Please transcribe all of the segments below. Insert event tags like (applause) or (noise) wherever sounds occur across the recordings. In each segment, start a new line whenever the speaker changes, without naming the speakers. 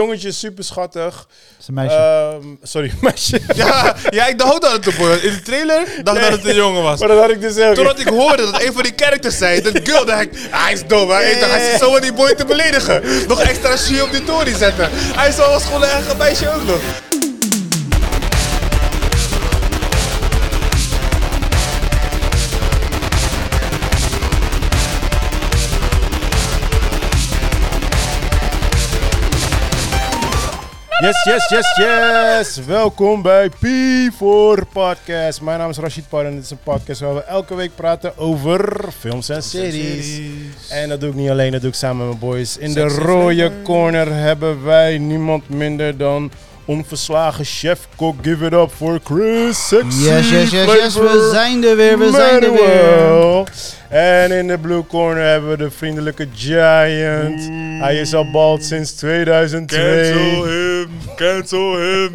Jongetje is super schattig.
is een meisje.
sorry, (laughs) meisje.
Ja, (laughs) ja, ik dacht dat het een boy was. In de trailer dacht ik dat het een jongen was.
Maar dat had ik dus ook.
Totdat ik hoorde dat een van die characters zei, dat girl, dacht ik, ah, hij is dom, hè? Ik dacht, hij zit zo aan die boy te beledigen. Nog extra shit op die tory zetten. Hij is was gewoon een eigen meisje ook nog.
Yes, yes, yes, yes. Welkom bij P4 Podcast. Mijn naam is Rashid Par en dit is een podcast waar we elke week praten over films en
Eh,
series. En dat doe ik niet alleen, dat doe ik samen met mijn boys. In de
Sexy
rode
flavor.
corner hebben wij niemand minder dan onverslagen chef kok. Give it up for Chris Sexy
Yes, yes, yes, yes, we
Flavor.
zijn er weer, we zijn er weer.
Manuel. En in de blue corner hebben we de vriendelijke Giant. Hij is al bald sinds 2002.
Cancel him, cancel (laughs) him.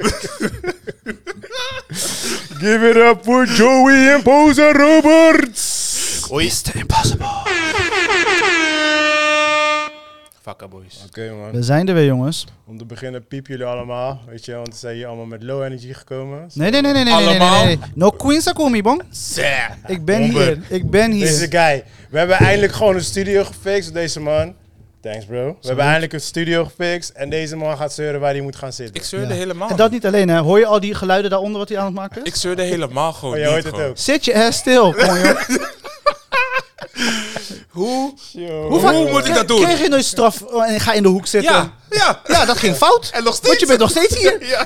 Give it up for Joey en Poza Roberts. Oké
Oei. Mr. Impossible. Fuck up, boys.
man,
We zijn er weer, jongens.
om te beginnen piep jullie allemaal, weet je, want ze zijn hier allemaal met low energy gekomen.
Nee, nee, nee, nee, nee, nee, nee,
Allemaal?
nee, nee. No queens akumi, bong. Ik ben
Bomber.
hier, ik ben
Deze
hier.
guy, we hebben eindelijk gewoon een studio gefixt voor deze man. Thanks bro. We hebben eindelijk een studio gefixt en deze man gaat zeuren waar hij moet gaan zitten.
Ik zeurde helemaal
En dat niet alleen, hè. Hoor je al die geluiden daaronder wat hij aan het maken
Ik
is?
zeurde helemaal gewoon
Oh, je
niet
hoort het
gewoon.
ook.
Zit je hè
(laughs)
stil, kom, joh.
Hoe?
Hoe
vaak- moet ik dat doen?
Kreeg je nooit straf oh, en ga in de hoek zitten?
Ja, ja.
Ja, dat ging fout.
En nog steeds.
Want je bent nog steeds hier.
(laughs) Ja.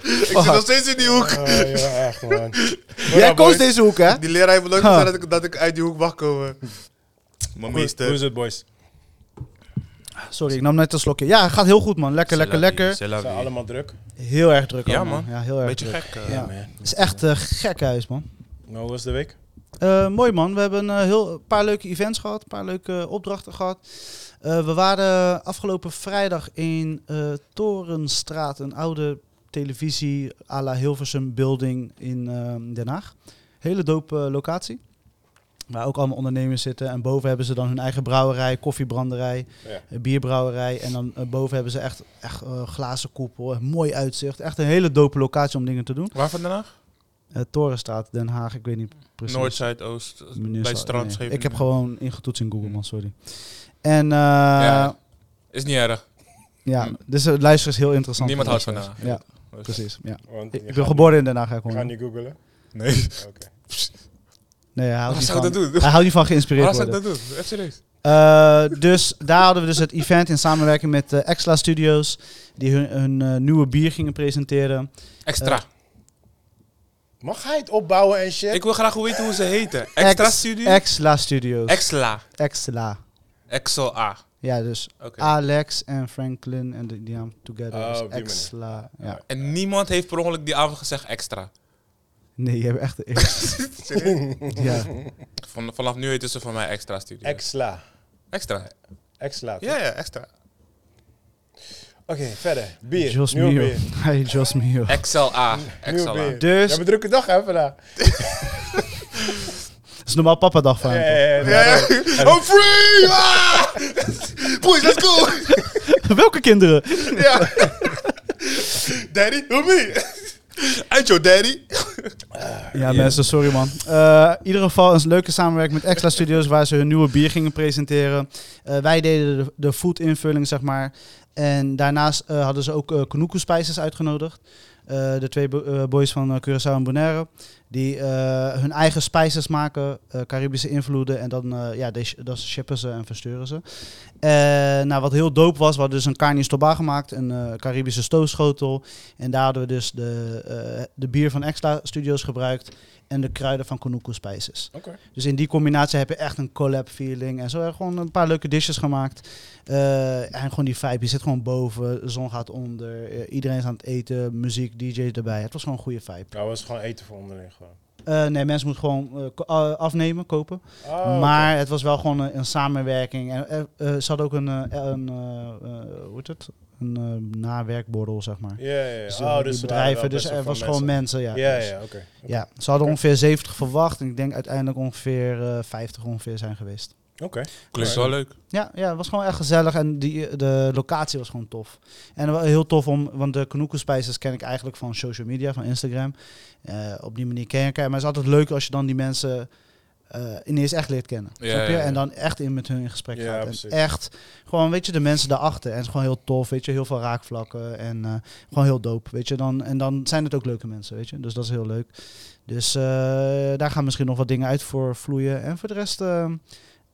ik zit nog steeds in die hoek.
ja, echt man.
Jij koos deze hoek, hè?
Die leraar heeft me nooit
Huh.
gezegd dat ik, dat ik uit die hoek mag komen. Mijn
Hoe is het boys?
Sorry, ik nam net een slokje. Ja, gaat heel goed, man. Lekker, lekker, lekker.
Ze zijn allemaal druk.
Heel erg druk,
Ja,
allemaal.
man.
Ja, heel erg
Beetje
druk.
gek. eh.
Ja.
man.
Het is echt een gek huis, man.
Nou, hoe was de week?
Eh, mooi man, we hebben een, heel, een paar leuke events gehad, een paar leuke opdrachten gehad. Eh, we waren afgelopen vrijdag in eh, Torenstraat, een oude televisie à la Hilversum building in ehm, Den Haag. Hele dope eh, locatie, waar ook allemaal ondernemers zitten. En boven hebben ze dan hun eigen brouwerij, koffiebranderij,
Ja.
eh, bierbrouwerij. En dan eh, boven hebben ze echt, echt eh, glazen koepel, een mooi uitzicht. Echt een hele dope locatie om dingen te doen.
Waar vandaan?
Eh, Torenstraat, Den Haag, ik weet niet precies.
Noord, Zuid, Oost.
Meneer
bij
Sa-
Strand
nee.
Scheveningen.
Ik heb gewoon ingetoetst in Google, man, sorry. En eh,
Ja.
ja.
Is niet erg.
dus het luisteren is heel interessant.
Niemand houdt van
Ja,
haar.
ja, precies. Ja.
Want
Ik,
je
ik ben
gaat-
geboren in Den Haag, hè,
Ik
gewoon.
ga niet googlen.
(laughs) Nee.
Oké.
Nee, hij houdt
Waarom
niet
zou ik
van,
dat doen? (laughs)
hij houdt niet van geïnspireerd
Waarom zou ik
worden.
dat doen? Echt serieus.
Eh, dus daar hadden we dus het event in samenwerking met eh Exla Studios, die hun, hun eh, nieuwe bier gingen presenteren.
Extra.
Mag hij het opbouwen en shit?
ik wil graag weten hoe ze heten. Extra
Ex-
studie?
Exla Studios.
Exla.
Exla.
Excel A.
Ja, dus
Oké.
Alex en Franklin en de- die naam together.
Oh, op
is
die manier.
Exla. Ja.
En niemand heeft per ongeluk die avond gezegd extra.
Nee, je hebt echt de
(laughs)
eerste. (laughs) ja.
Van, vanaf nu heten ze van mij extra studie.
Exla.
extra.
Exla.
Ja, ja,
(laughs)
extra.
Oké, verder. Bier.
Jos
Nieuw
Mio.
bier.
Hey, Jos Mio.
Excel A.
Nieuw
Excel A.
bier.
Dus-
We hebben een drukke dag hè vandaag.
Dat is normaal papa dag van
Ja,
hem,
ja, ja,
Ja, ja.
daarom.
I'm Oh, free! Ah! (laughs) Boys, let's go!
toch? (laughs) Welke kinderen?
Ja. Daddy, help me! Uit your daddy!
Ja, mensen, sorry man. Eh, in ieder geval een leuke samenwerking met Extra Studios, waar ze hun nieuwe bier gingen presenteren. Eh, wij deden de, de food invulling, zeg maar. En daarnaast eh, hadden ze ook eh Konuku Spices uitgenodigd. Eh, de twee bo- eh, boys van eh, Curaçao en Bonaire. Die eh, hun eigen spices maken, eh, Caribische invloeden. En dan eh, ja, die sh- dat shippen ze en versturen ze. Eh, nou, wat heel dope was, we hadden dus een carnis toba gemaakt. Een eh, Caribische stoofschotel. En daar hadden we dus de, eh, de bier van Extra Studios gebruikt en de kruiden van Konuku Spices.
Oké.
Dus in die combinatie heb je echt een collab feeling. En zo hebben we gewoon een paar leuke dishes gemaakt. Eh, en gewoon die vibe, je zit gewoon boven, de zon gaat onder, eh, iedereen is aan het eten, muziek, DJ erbij. Het was gewoon een goede vibe.
Nou, was gewoon eten voor onderling gewoon.
Eh, nee, mensen moeten gewoon eh, ko- eh, afnemen, kopen.
Oh,
maar het was wel gewoon een, een samenwerking. En eh, eh, ze hadden ook een, eh, een eh, eh, hoe heet het? Een eh, nawerkborrel, zeg maar.
oké. Ja, ja, ja.
Dus, eh,
Oh,
die
dus er waren wel
bedrijven,
best
dus
wel
er
veel
was gewoon mensen. Ja,
Ja,
Dus,
ja, oké.
ja, ze hadden ongeveer 70 verwacht en ik denk uiteindelijk ongeveer eh, 50 ongeveer zijn geweest.
Oké.
Klinkt wel leuk.
Ja, ja, het was gewoon echt gezellig en die, de locatie was gewoon tof. En wel heel tof om, want de Canoeco Spices ken ik eigenlijk van social media, van Instagram. Eh, op die manier ken je elkaar. Maar het is altijd leuk als je dan die mensen eh, ineens echt leert kennen.
Ja,
snap je?
ja, ja.
En dan echt in met hun in gesprek
Ja,
gaat.
precies.
En echt, gewoon weet je, de mensen daarachter. En het is gewoon heel tof, weet je, heel veel raakvlakken en eh, gewoon heel dope, weet je. Dan, en dan zijn het ook leuke mensen, weet je. Dus dat is heel leuk. Dus eh, daar gaan misschien nog wat dingen uit voor vloeien. En voor de rest... eh,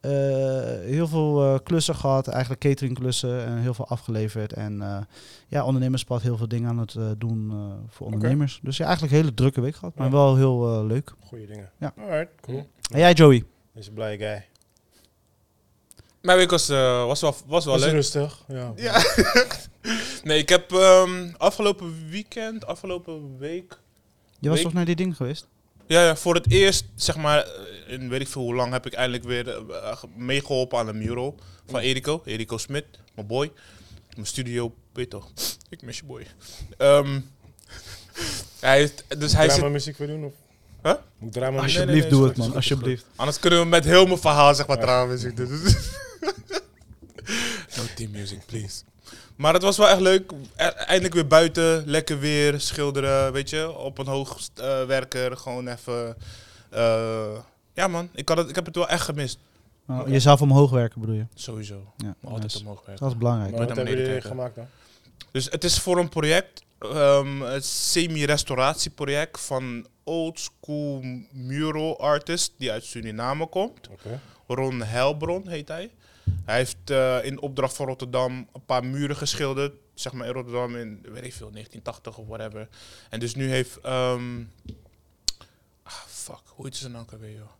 eh, heel veel eh, klussen gehad, eigenlijk cateringklussen en heel veel afgeleverd. En eh, ja, ondernemerspad heel veel dingen aan het eh, doen eh, voor ondernemers. Dus ja, eigenlijk een hele drukke week gehad, maar
Ja.
wel heel eh, leuk.
Goeie dingen.
Ja.
Hm.
Alright, cool.
En jij Joey?
Deze blije guy.
Mijn week was, eh, was wel, was wel
Was
leuk.
rustig. Ja.
Ja. Nee, ik heb ehm, afgelopen weekend, afgelopen week...
Je was
Week-
toch naar die ding geweest?
Ja, ja, voor het eerst, zeg maar, eh, in weet ik veel hoe lang heb ik eindelijk weer eh, ge- meegeholpen aan de mural van Eriko. Eriko Smit, mijn boy. Mijn studio, weet je toch, ik mis je boy. Ehm, hij heeft, dus hij
Moet ik
zit,
drama muziek voor doen? Of?
Huh?
Moet ik drama muziek
Alsjeblieft, nee, nee, doe het,
man, alsjeblieft.
anders kunnen we met heel mijn verhaal, zeg maar,
Ja.
trouwens. Ik- no team music, please. Maar het was wel echt leuk. E- Eindelijk weer buiten, lekker weer, schilderen, weet je. Op een hoogwerker, werker gewoon even... eh, ja man, ik, had het, ik heb het wel echt gemist.
Oh,
Oké.
Jezelf omhoog werken bedoel je?
Sowieso.
Ja,
Maar Altijd
nice.
omhoog werken.
Dat is belangrijk.
Maar
Nooit
wat
naar
hebben
beneden
jullie
kijken.
gemaakt dan?
Dus het is voor een project, ehm, een semi-restauratieproject van old school mural artist die uit Suriname komt.
Oké.
Ron Helbron heet hij. Hij heeft eh, in opdracht van Rotterdam een paar muren geschilderd. Zeg maar in Rotterdam in, weet ik veel, 1980 of whatever. En dus nu heeft... ehm, ah, fuck, hoe heet ze nou ook alweer, joh?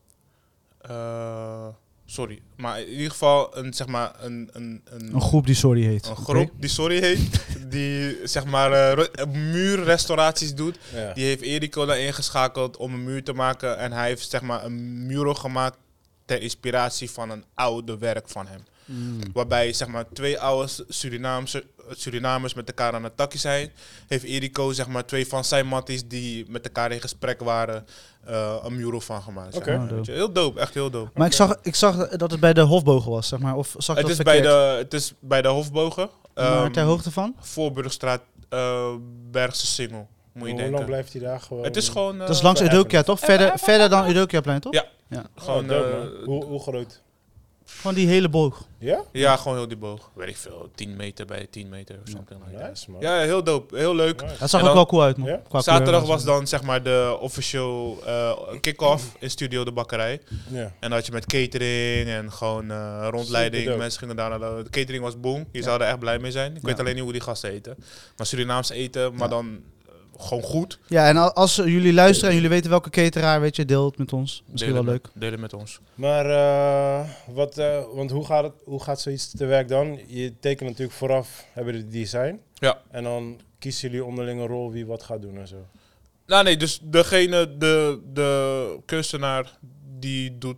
Eh, sorry. Maar in ieder geval een, zeg maar, een... Een,
Een groep die sorry heet.
een
oké?
groep die sorry heet, die zeg maar eh, ro- eh, muurrestauraties doet.
Ja.
Die heeft Eriko daar ingeschakeld om een muur te maken. En hij heeft zeg maar een mural gemaakt ter inspiratie van een oude werk van hem.
Mm.
Waarbij zeg maar twee oude Surinaamse, Surinamers met elkaar aan het takje zijn. Heeft Eriko zeg maar twee van zijn matties die met elkaar in gesprek waren eh, een mural van gemaakt. zeg
Oké.
maar.
Oh, dope.
Weet je, Heel dope, echt heel dope.
Maar ik zag, ik zag dat het bij de Hofbogen was, zeg maar. Of zag ik
Het
dat
is, bij de,
verkeerd?
het is bij de Hofbogen.
Maar
ehm,
ter hoogte van?
Voorburgstraat, eh, Bergse Singel. Moet je
Hoe
denken.
lang blijft hij daar gewoon?
het is gewoon. eh,
dat is langs
even-
Eudokia, toch? Verder, verder dan Eudokiaplein, toch?
Ja.
Oh,
Gewoon,
dope,
eh,
man. hoe, hoe groot?
Gewoon die hele boog.
Ja?
ja, gewoon heel die boog. Weet ik veel, 10 meter bij 10 meter of something like that.
Nice, man.
Ja, heel dope, heel leuk.
Nice.
Dat zag ook
En dan-
wel cool uit, man.
Ja?
Qua kleur
Zaterdag
en
was
zo.
dan zeg maar de officieel eh, kick-off in Studio de Bakkerij.
Ja.
En dan had je met catering en gewoon eh, rondleiding.
Superdope.
Mensen gingen daar naar de, de catering was boom. Je
Ja.
zou er echt blij mee zijn. Ik weet
Ja.
alleen niet hoe die gasten eten. Maar Surinaams eten, maar
Ja.
dan eh, gewoon goed.
Ja, en al- als jullie luisteren en jullie weten welke cateraar, weet je, deel het met ons. Misschien
Delen
wel
met-
leuk.
Delen met ons.
Maar eh, wat, eh, want hoe, gaat het, hoe gaat zoiets te werk dan? Je tekent natuurlijk vooraf, hebben jullie het design.
Ja.
En dan kiezen jullie onderling een rol wie wat gaat doen en zo.
Nou nee, dus degene, de, de kunstenaar die doet,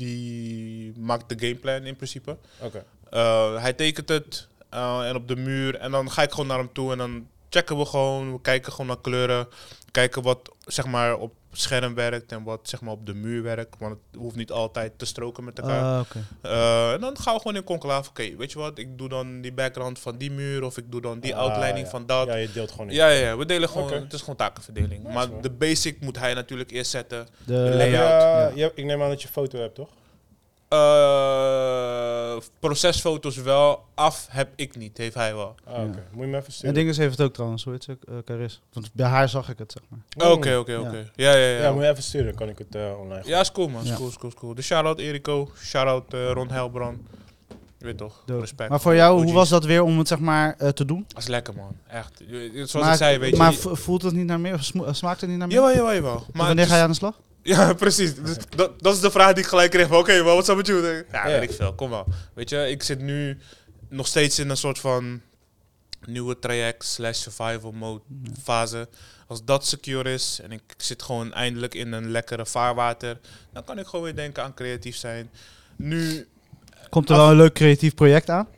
die maakt de gameplan in principe.
Oké.
Eh, hij tekent het eh, en op de muur en dan ga ik gewoon naar hem toe en dan checken we gewoon, we kijken gewoon naar kleuren, kijken wat zeg maar op scherm werkt en wat zeg maar op de muur werkt, want het hoeft niet altijd te stroken met elkaar.
Ah, oké.
Eh, en dan gaan we gewoon in conclave, oké, weet je wat, ik doe dan die background van die muur of ik doe dan die
Ah,
outlining
ja.
van dat.
Ja, je deelt gewoon niet.
Ja, ja, ja, we delen gewoon.
Oké.
Het is gewoon takenverdeling.
Nice,
maar
man.
de basic moet hij natuurlijk eerst zetten.
De
Heb je,
layout.
eh, je hebt- ik neem aan dat je foto hebt, toch?
Eh, procesfoto's wel, af heb ik niet, heeft hij wel.
Ah, oké. Moet je me even
En
sturen?
Dinges heeft het ook trouwens, hoe heet ze? ook? Eh, Caris. Want bij haar zag ik het, zeg maar.
Mm.
Oké, oké, oké. Ja, ja,
Ja, moet
ja.
je even sturen, dan kan ik het eh, online
Ja, is cool man, is
Ja.
cool, is cool, is cool. Dus shout-out Eriko, shout-out eh, Ron Helbrand. Je weet toch,
Dope.
Oh, respect.
Maar voor jou, hoe
OG's.
was dat weer om het, zeg maar, eh, te doen?
Dat is lekker man, echt. Je- Zoals
maar
ik zei, weet
maar
je...
vo- voelt het niet naar meer? Of smo- eh, smaakt het niet naar meer? Dus
Jawel, jawel, jawel. Maar
wanneer
het
ga
is-
je aan de slag?
Ja, (laughs) precies. Dus dat, dat is de vraag die ik gelijk kreeg. van, Oké, maar wat zou met jou? Ja,
Ja.
weet ik veel. Kom wel. Weet je, ik zit nu nog steeds in een soort van nieuwe traject slash survival mode fase. Als dat secure is en ik zit gewoon eindelijk in een lekkere vaarwater, dan kan ik gewoon weer denken aan creatief zijn. Nu,
Komt er wel een leuk creatief project aan?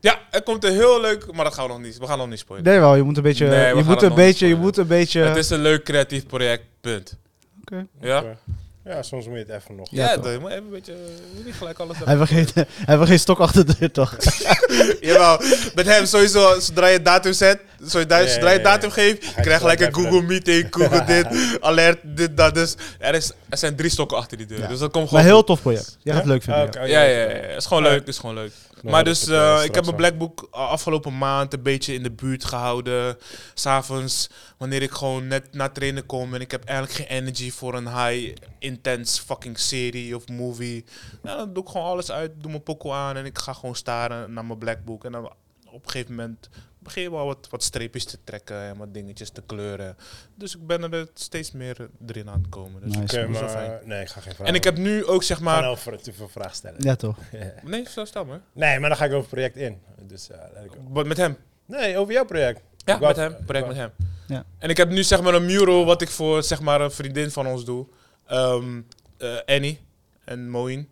ja, er komt een heel leuk, maar dat gaan we nog niet. We gaan nog niet spoilen.
Nee wel, je moet een beetje...
Nee, we
je,
gaan
moet
het
een
nog niet
beetje je
spoilen.
moet een beetje...
Het is een leuk creatief project, punt.
Oké.
Ja?
Oké. Ja, soms moet je het even nog.
Ja,
Ja,
toch.
dat moet even een beetje. eh, moet niet gelijk alles.
(laughs) Hij vergeet, hij vergeet stok achter de deur, toch?
(laughs) Jawel, met hem sowieso, zodra je datum zet, zodra,
Ja,
zodra je
ja, ja.
datum geeft, je
gelijk
krijgt gelijk een
even
Google Meeting,
(laughs)
Google dit, alert, dit, dat. Dus er, is, er zijn drie stokken achter die deur.
Ja.
Dus dat komt gewoon.
Maar heel
goed.
tof project. Jij gaat het leuk vinden. ja.
Ah, Oké,
Ja, ja, ja, ja. Is gewoon
Oh, Ja.
leuk, is gewoon leuk.
Nou,
maar
dat
dus,
is het, eh,
eh, ik
straks
heb mijn
wel.
Black Book a- afgelopen maand een beetje in de buurt gehouden. S'avonds, wanneer ik gewoon net na trainen kom en ik heb eigenlijk geen energy voor een high, intense fucking serie of movie. Nou, dan doe ik gewoon alles uit, doe mijn pokoe aan en ik ga gewoon staren naar mijn Black Book. En dan op een gegeven moment begin je wel wat, wat streepjes te trekken en wat dingetjes te kleuren. Dus ik ben er steeds meer erin aan het komen. Dus
Nice.
dat
Oké,
is wel fijn.
eh, maar nee, ik ga geen vraag
En ik heb nu ook zeg
maar...
maar...
Gaan over te veel vragen stellen. (laughs)
Ja, toch?
Nee, zo stel maar.
Nee, maar dan ga ik over project in. Dus, eh, laat ik-
Wat met hem?
nee, over jouw project.
Ja,
Ik wou-
met hem. Project met hem.
Ja.
En ik heb nu zeg maar een mural wat ik voor zeg maar een vriendin van ons doe. Ehm, eh, Annie en Moin.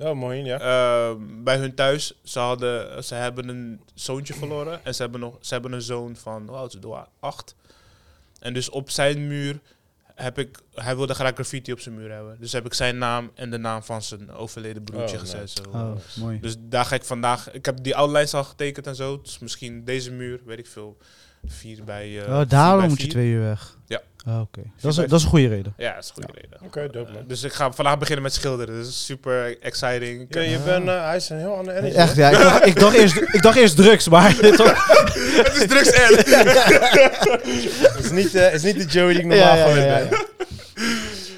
Oh, mooi, ja.
Ehm, bij hun thuis. Ze, hadden, ze hebben een zoontje verloren. En ze hebben, nog, ze hebben een zoon van, hoe oud is het? Acht. En dus op zijn muur heb ik... Hij wilde graag graffiti op zijn muur hebben. Dus heb ik zijn naam en de naam van zijn overleden broertje
Oh,
gezet. Zo.
Oh, mooi.
Dus daar ga ik vandaag. Ik heb die outlines al getekend en zo. Dus misschien deze muur, weet ik veel. Vier bij. eh,
Oh,
vier
daarom
bij
moet je
vier.
twee uur weg.
Ja.
Oh, Oké. Dat, is,
bij-
dat is een goede reden.
Ja, dat is een goede reden.
Oké, dope,
Eh,
man.
dus ik ga vandaag beginnen met schilderen. Dus dat is super exciting. Ik
Ja,
heb-
je bent, eh, hij is een heel ander energie.
Echt, ja. Ik dacht, ik dacht, eerst, ik dacht eerst drugs, maar (laughs) toch?
Het is drugs
(laughs)
en.
Het is niet, eh, is niet de Joey die ik normaal
(laughs) Ja, ja,
gewend
ja, ja,
ben.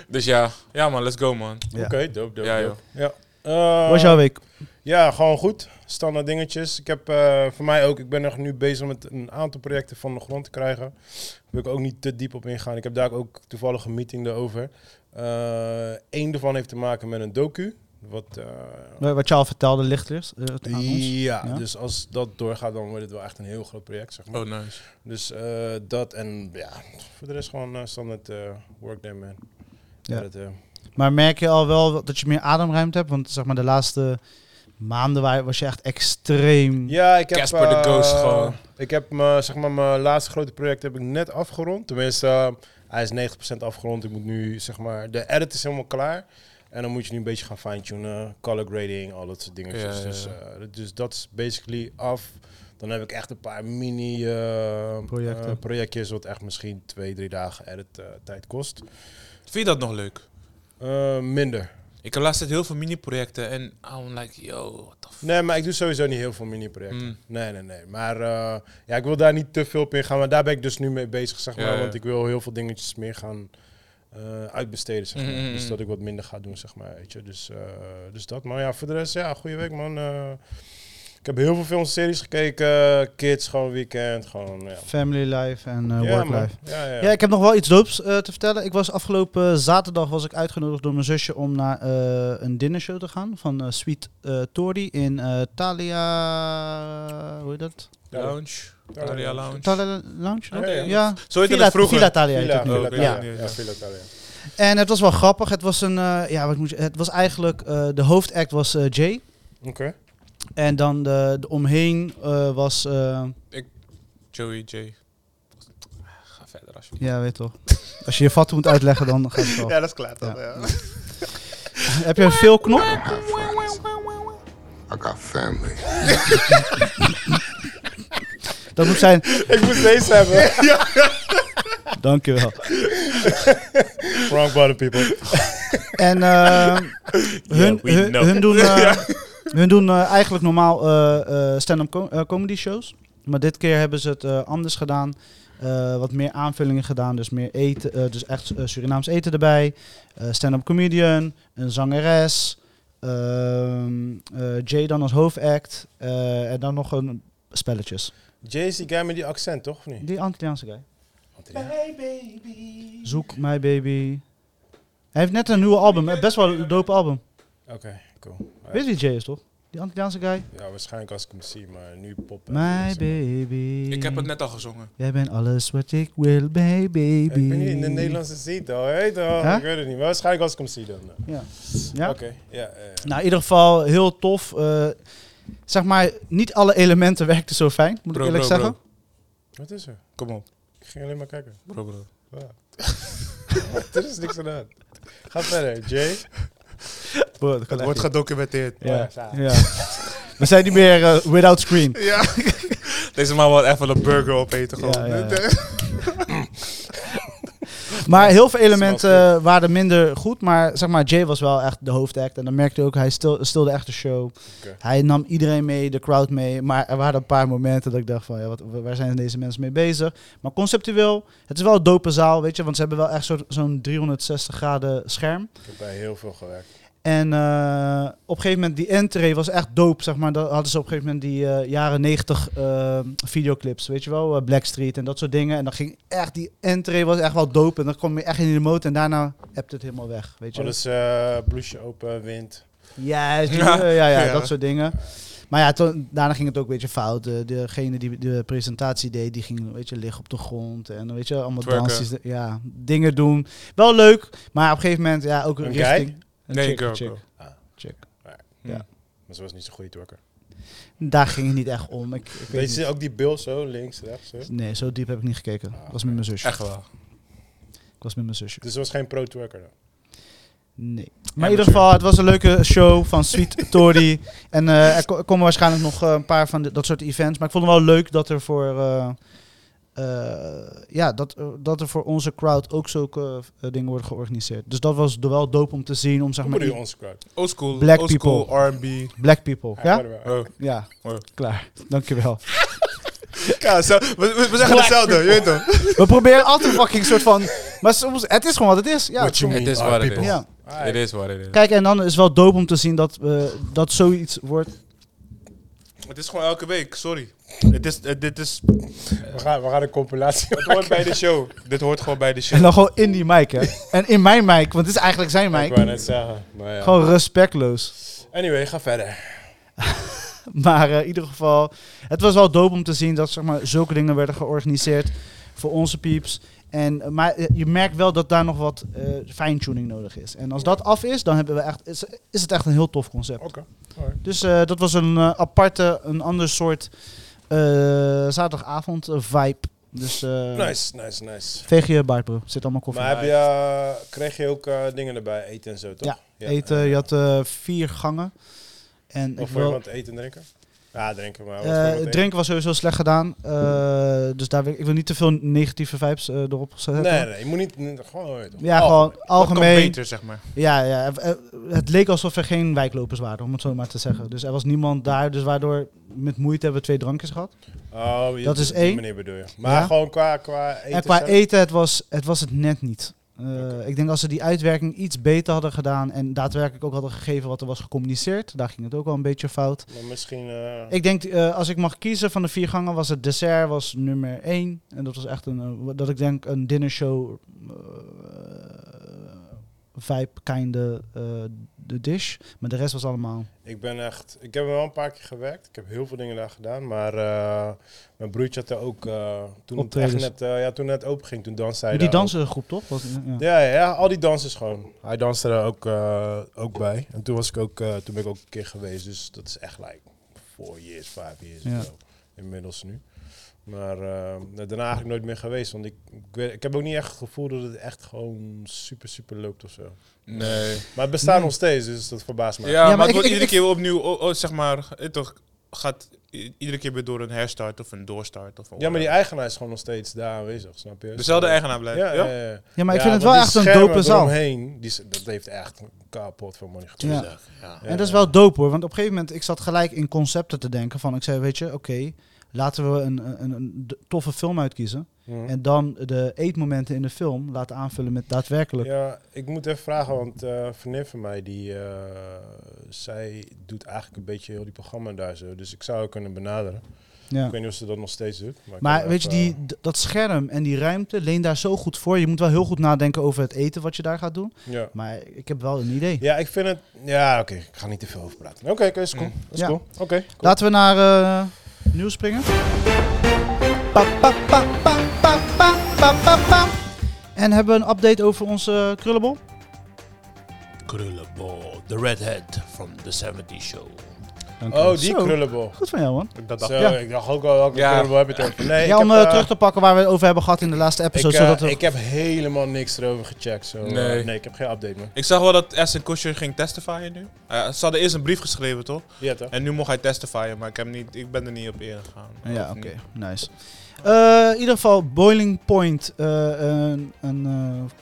dus ja, ja man, let's go man.
Ja.
Oké, dope, dope,
Ja,
dope. Ja. Eh,
was jouw week?
Ja, gewoon goed. Standaard dingetjes. Ik heb eh, voor mij ook, ik ben nog nu bezig met een aantal projecten van de grond te krijgen. Daar wil ik ook niet te diep op ingaan. Ik heb daar ook toevallig een meeting daarover. Eén daarvan heeft te maken met een docu. Wat, eh,
Eh, Wat je al vertelde, licht is, eh, aan ons.
ja,
Ja.
dus als dat doorgaat, dan wordt het wel echt een heel groot project, zeg maar.
Oh, nice.
Dus eh, dat en ja, voor de rest gewoon eh, standaard eh workday man.
Ja.
Ja. Dat, eh,
Maar merk je al wel dat je meer ademruimte hebt? Want zeg maar, de laatste maanden wa- was je echt extreem.
Ja, ik heb...
Casper the
eh,
Ghost gewoon.
Ik heb mijn, zeg maar, mijn laatste grote project heb ik net afgerond. Tenminste, eh, hij is 90% afgerond. Ik moet nu, zeg maar... De edit is helemaal klaar. En dan moet je nu een beetje gaan fine-tunen. Color grading, al dat soort dingetjes.
Ja, ja,
Dus,
ja.
eh, dus dat is basically af. Dan heb ik echt een paar mini eh,
Projecten.
eh, projectjes... wat echt misschien twee, drie dagen edit eh, tijd kost.
Vind je dat nog leuk?
Eh, minder.
Ik heb laatst tijd heel veel mini-projecten en I'm like, yo, what the fuck.
Nee, maar ik doe sowieso niet heel veel mini-projecten.
Mm.
Nee, nee, nee. Maar eh, ja, ik wil daar niet te veel op ingaan. Maar daar ben ik dus nu mee bezig, zeg maar.
Ja, ja.
Want ik wil heel veel dingetjes meer gaan eh, uitbesteden, zeg maar.
Mm, mm,
Dus
mm.
dat ik wat minder ga doen, zeg maar. Weet je. Dus, eh, dus dat. Maar ja, voor de rest, ja, goede week, man. Eh, ik heb heel veel films en series gekeken. Kids, gewoon weekend. Gewoon, ja.
Family life en eh,
ja,
work
man.
life.
Ja, ja.
Ja. ik heb nog wel iets doops eh, te vertellen. Ik was afgelopen eh, zaterdag was ik uitgenodigd door mijn zusje om naar eh, een dinnershow te gaan van eh Sweet eh Tori in eh, Thalia. Hoe heet dat?
Lounge.
Talia
Talia
Lounge.
Lounge.
Thalia Lounge?
Ja, ja.
Ja.
Zo heette
Villa,
dat vroeger.
Villa Thalia. heet
Villa,
het nu.
Villa,
Oké,
Thalia.
oké.
Ja, Villa Thalia.
En het was wel grappig. Het was een, eh, ja, wat moet je, het was eigenlijk eh, de hoofdact was eh, Jay
Oké.
en dan de, de omheen eh, was, eh,
Joey J. Ga verder alsjeblieft.
ja, weet toch. Als je je vat moet uitleggen, dan gaat het wel.
dat is klaar
dan,
ja.
(laughs) Heb je een veel knop?
I got friends. I got family.
Dat moet zijn.
Ik moet deze hebben.
(laughs) Dankjewel.
Wrong bottom, people.
En
(laughs)
eh, hun,
we
hun,
know. (laughs)
hun doen, eh, hun doen eh, eigenlijk normaal eh, eh, stand-up co- eh, comedy shows. Maar dit keer hebben ze het eh, anders gedaan. Eh, wat meer aanvullingen gedaan. Dus meer eten. eh, dus echt eh, Surinaams eten erbij. Eh, stand-up comedian. Een zangeres. ehm, eh, Jay dan als hoofdact. eh, en dan nog een spelletjes.
Jay is die guy met die accent, toch? Of niet?
Die Antilliaanse guy. Zoek My Baby. Hij heeft net een nieuw album. eh, Best wel een dope album.
Oké, cool.
Weet je wie Jay is toch? Die Antilliaanse guy.
Ja, waarschijnlijk als ik hem zie, maar nu pop.
My baby.
Ik heb het net al gezongen.
Jij bent alles wat ik wil, my baby.
Ik ben niet in de Nederlandse zee, toch? Hey, toch?
Huh?
Ik weet het niet, maar waarschijnlijk als ik hem zie dan. eh.
Ja. ja?
Oké, ja. eh,
Nou, in ieder geval heel tof. eh, zeg maar, niet alle elementen werkten zo fijn, moet
Bro,
ik eerlijk
bro, bro.
zeggen.
Wat is er?
Kom op,
Ik ging alleen maar kijken. (laughs)
bro, bro.
Ja. er is niks aan de hand. Ga verder, Jay.
Bro, dat kan
Het
echt
wordt
niet.
gedocumenteerd.
Ja.
Ja.
ja. We zijn niet meer eh, without screen.
(laughs) Ja. Deze man wil even een burger opeten gewoon.
Ja, ja, (laughs) Maar heel veel
Snap
elementen eh, waren minder goed. Maar zeg maar, Jay was wel echt de hoofdact. En dan merkte je ook, hij stil, stilde echt de show.
Oké.
Hij nam iedereen mee, de crowd mee. Maar er waren een paar momenten dat ik dacht van, ja, wat, waar zijn deze mensen mee bezig? Maar conceptueel, het is wel een dope zaal, weet je. Want ze hebben wel echt zo- zo'n 360 graden scherm.
Ik heb bij heel veel gewerkt.
En eh, op een gegeven moment, die entree was echt dope, zeg maar. Dan hadden ze op een gegeven moment die eh, jaren 90 eh, videoclips, weet je wel? eh, Blackstreet en dat soort dingen. En dan ging echt, die entree was echt wel dope. En dan kwam je echt in de mode en daarna hebt het helemaal weg, weet je wel?
Alles eh bloesje open, wind.
Juist,
Ja.
ja, ja, ja,
Ja.
dat soort dingen. Maar ja, toen, daarna ging het ook een beetje fout. Eh, degene die de presentatie deed, die ging weet je, liggen op de grond. En weet je, allemaal
Twerken.
dansjes. Ja, dingen doen. Wel leuk, maar op een gegeven moment, ja, ook
Een guy?
richting... Een
Nee,
chick,
girl,
een chick.
girl.
Chick.
Maar ze was niet zo'n goede twerker.
Daar ging het niet echt om. Ik, ik weet
Weet
niet.
je ook die bil zo, links, rechts? Zo?
Nee, zo diep heb ik niet gekeken. Ik was met mijn zusje.
Echt wel.
Ik was met mijn zusje.
Dus ze was geen pro-twerker dan.
Nee. Maar in
mijn
ieder geval, het was een leuke show van Sweet Tory. en eh, er ko- er komen waarschijnlijk nog eh, een paar van dit- dat soort events. Maar ik vond het wel leuk dat er voor, eh, eh, ja, dat, er- dat er voor onze crowd ook zulke eh, dingen worden georganiseerd. Dus dat was wel dope om te zien. Om zeg
Hoe
maar
bedoel je
i-
onze crowd?
Old school.
Black
old school R&B.
black people.
Ah,
Ja?
verder wel.
Oh.
Ja.
Oh.
Klaar. Dankjewel.
(laughs) Ja, zo- we, we- we zeggen hetzelfde, je weet toch?
We proberen altijd fucking soort van... Maar soms, het is gewoon wat het is. Ja,
What you
soms-
mean,
Het is
our
wat het
people?
is.
ja.
Ah,
It is what it is.
Kijk, en dan is het wel dope om te zien dat, eh, dat zoiets wordt.
Het is gewoon elke week, sorry. Het is, het- dit is, het
we, gaan, we gaan een compilatie
hoort bij de show. Dit hoort gewoon bij de
En
show.
dan gewoon in die mic, (laughs) hè? en in mijn mic, want het is eigenlijk zijn
maken. Ik wou
mic.
net zeggen. Maar ja.
Gewoon respectloos.
Anyway, ga verder.
Maar eh, in ieder geval, het was wel dope om te zien dat zeg maar, zulke dingen werden georganiseerd voor onze pieps. En, eh, maar eh, je merkt wel dat daar nog wat eh fine-tuning nodig is. En als dat af is, dan hebben we echt, is, is het echt een heel tof concept.
Oké.
Dus eh, dat was een eh, aparte, een ander soort eh, zaterdagavond eh, vibe. Dus eh
Nice, nice, nice.
veeg je baard, bro. Zit allemaal koffie.
Maar heb je, eh, kreeg je ook eh, dingen erbij, eten en zo toch?
Ja, eten. Je had eh, vier gangen. En ik
Of voor
wil,
iemand eten en drinken? Ja, drinken maar. wat voor
eh,
iemand eten?
drinken was sowieso slecht gedaan. Eh, dus daar wil, ik wil niet te veel negatieve vibes eh, erop zetten.
Nee, nee, je moet niet. nee, Gewoon. weet je toch.
Ja,
Oh,
gewoon
Het kan
algemeen.
beter, zeg maar.
Ja, ja, eh, eh, het leek alsof er geen wijklopers waren, om het zo maar te zeggen. Dus er was niemand daar, dus waardoor met moeite hebben we twee drankjes gehad.
Oh, je-
Dat is
op die
één.
manier bedoel je. Maar
Ja.
gewoon qua, qua eten.
en qua
zelf?
eten, het was, het was het net niet. Eh, Ik denk als ze die uitwerking iets beter hadden gedaan en daadwerkelijk ook hadden gegeven wat er was gecommuniceerd, daar ging het ook wel een beetje fout.
Maar misschien. eh,
Ik denk, eh, als ik mag kiezen van de vier gangen, was het dessert was nummer één. En dat was echt een, eh, dat ik denk, een dinnershow eh, vibe kinde eh, de dish. Maar de rest was allemaal...
Ik ben echt. Ik heb er wel een paar keer gewerkt. Ik heb heel veel dingen daar gedaan. Maar eh, mijn broertje had er ook. eh, toen het echt
Optredens.
net, eh, ja, toen het open ging, toen danste hij.
die
daar ook.
dansengroep, toch? Was, ja.
Ja, ja, ja, al die dansers gewoon. Hij danste daar ook, eh, ook bij. En toen, was ik ook, eh, toen ben ik ook een keer geweest. Dus dat is echt like four years, five years
Ja.
of zo. Inmiddels nu. Maar eh, daarna eigenlijk nooit meer geweest. Want ik, ik, weet- ik heb ook niet echt het gevoel dat het echt gewoon super, super loopt of zo.
Nee.
Maar het bestaat
Nee.
nog steeds, dus dat verbaast me.
Ja,
Ja.
maar,
maar
het
ik-
wordt
ik-
iedere
ik-
keer weer opnieuw, oh, oh, zeg maar, het toch gaat i- iedere keer weer door een herstart of een doorstart. Of een
maar die eigenaar is gewoon nog steeds daar aanwezig, snap je? Dus, eh,
Dezelfde eigenaar blijft.
Ja,
Ja,
ja, ja, ja.
Ja, maar ik
Ja, want
vind het wel
die
echt een
schermen
dope zaal.
eromheen, die, s- dat heeft echt kapot veel money gekost.
Ja.
Ja.
En dat is wel dope hoor, want op een gegeven moment ik zat gelijk in concepten te denken van ik zei weet je, oké, laten we een, een, een d- toffe film uitkiezen
Mhm.
en dan de eetmomenten in de film laten aanvullen met daadwerkelijk.
Ja, ik moet even vragen, want eh een vriendin van mij, die, eh, zij doet eigenlijk een beetje heel die programma daar zo. Dus ik zou haar kunnen benaderen.
Ja.
Ik weet niet of ze dat nog steeds doet. Maar, ik
Maar
kan
weet je,
even-
die, d- dat scherm en die ruimte leent daar zo goed voor. Je moet wel heel goed nadenken over het eten wat je daar gaat doen.
Ja.
Maar ik heb wel een idee.
ja, ik vind het... Ja, oké, ik ga niet te veel over praten. Oké, oké, is cool. Is
Mm. Ja.
cool. Oké, cool.
Laten we naar eh, nieuws springen. Pa, pa, pa, pa, pa, pa, pa, pa, pa. En hebben we een update over onze krullenbol?
Krullenbol, the redhead from the 70s show.
Dank
Oh,
je.
die
Zo,
krullenbol.
Goed van jou, man.
Dat dacht
Zo,
Ja.
ik dacht ook al welke
Ja.
krullenbol heb je het over. Nee,
ja,
ik
om
heb,
eh,
eh,
terug te pakken waar we het over hebben gehad in de laatste episode.
ik, eh,
zodat we-
ik heb helemaal niks erover gecheckt. Zo. eh,
Nee.
Nee. ik heb geen update meer.
Ik zag wel dat Aston Kutcher ging testifyen nu. Eh, ze hadden eerst een brief geschreven, toch?
Ja, toch?
En nu mocht hij testifyen, maar ik, heb niet, ik ben er niet op eerder gegaan.
Ja,
Of
oké.
niet.
Nice. Eh, in ieder geval Boiling Point. eh, een, een, eh,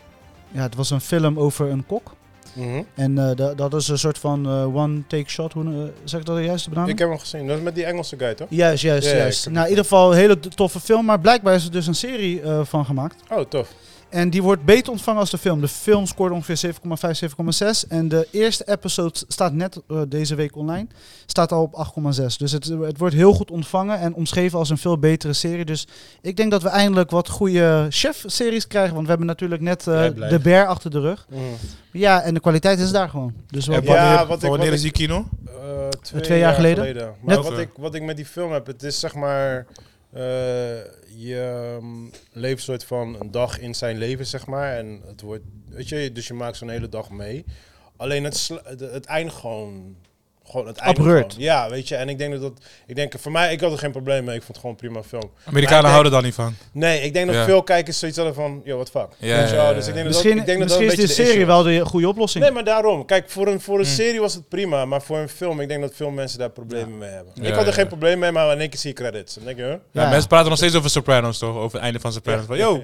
ja, het was een film over een kok.
Mhm.
En eh, da- dat is een soort van eh, one-take shot. Hoe eh, zeg ik dat de juiste benaming?
Ik heb hem gezien. Dat is met die Engelse guy, toch?
Juist, juist,
Ja, ja, ik
juist.
heb-
Nou, in ieder geval een hele toffe film. Maar blijkbaar is er dus een serie eh, van gemaakt.
Oh, tof.
En die wordt beter ontvangen als de film. De film scoorde ongeveer 7,5, 7,6. En de eerste episode staat net eh, deze week online. Staat al op 8,6. Dus het, het wordt heel goed ontvangen en omschreven als een veel betere serie. Dus ik denk dat we eindelijk wat goede chef-series krijgen. Want we hebben natuurlijk net eh,
Jij blij.
de bear achter de rug.
Mhm.
Ja, en de kwaliteit is daar gewoon. Dus wel
En
Ja,
ja.
wanneer,
wat ik-
wanneer
wat
is die kino?
Eh, twee,
jaar geleden?
Maar
Net-
wat ik, wat ik met die film heb, het is zeg maar... eh, je mm, leeft soort van een dag in zijn leven, zeg maar. En het wordt... Weet je, dus je maakt zo'n hele dag mee. Alleen het, sla- het, het eind gewoon... Gewoon het eind
Abrupt.
gewoon. Ja, weet je. En ik denk dat dat... Ik denk, voor mij, ik had er geen probleem mee. Ik vond het gewoon een prima film.
Amerikanen
Maar ik
houden daar niet van.
Nee, ik denk dat
Ja.
veel kijkers zoiets hadden van... Yo, what the fuck?
Ja,
Weet je
ja,
wel,
ja,
Dus ik
ja.
denk dat
Misschien,
dat, ik denk dat dat
misschien
een
is de
beetje
serie
issue
wel de goede oplossing.
Nee, maar daarom. Kijk, voor een,
Hm.
voor een serie was het prima, maar voor een film, ik denk dat veel mensen daar problemen mee hebben.
Ja,
ik had er
ja,
geen
ja.
probleem mee, maar in één keer zie je credits. Dan denk je, huh?
Ja.
Ja, mensen praten nog steeds over Sopranos, toch? Over het einde van Sopranos. Van, (laughs) yo,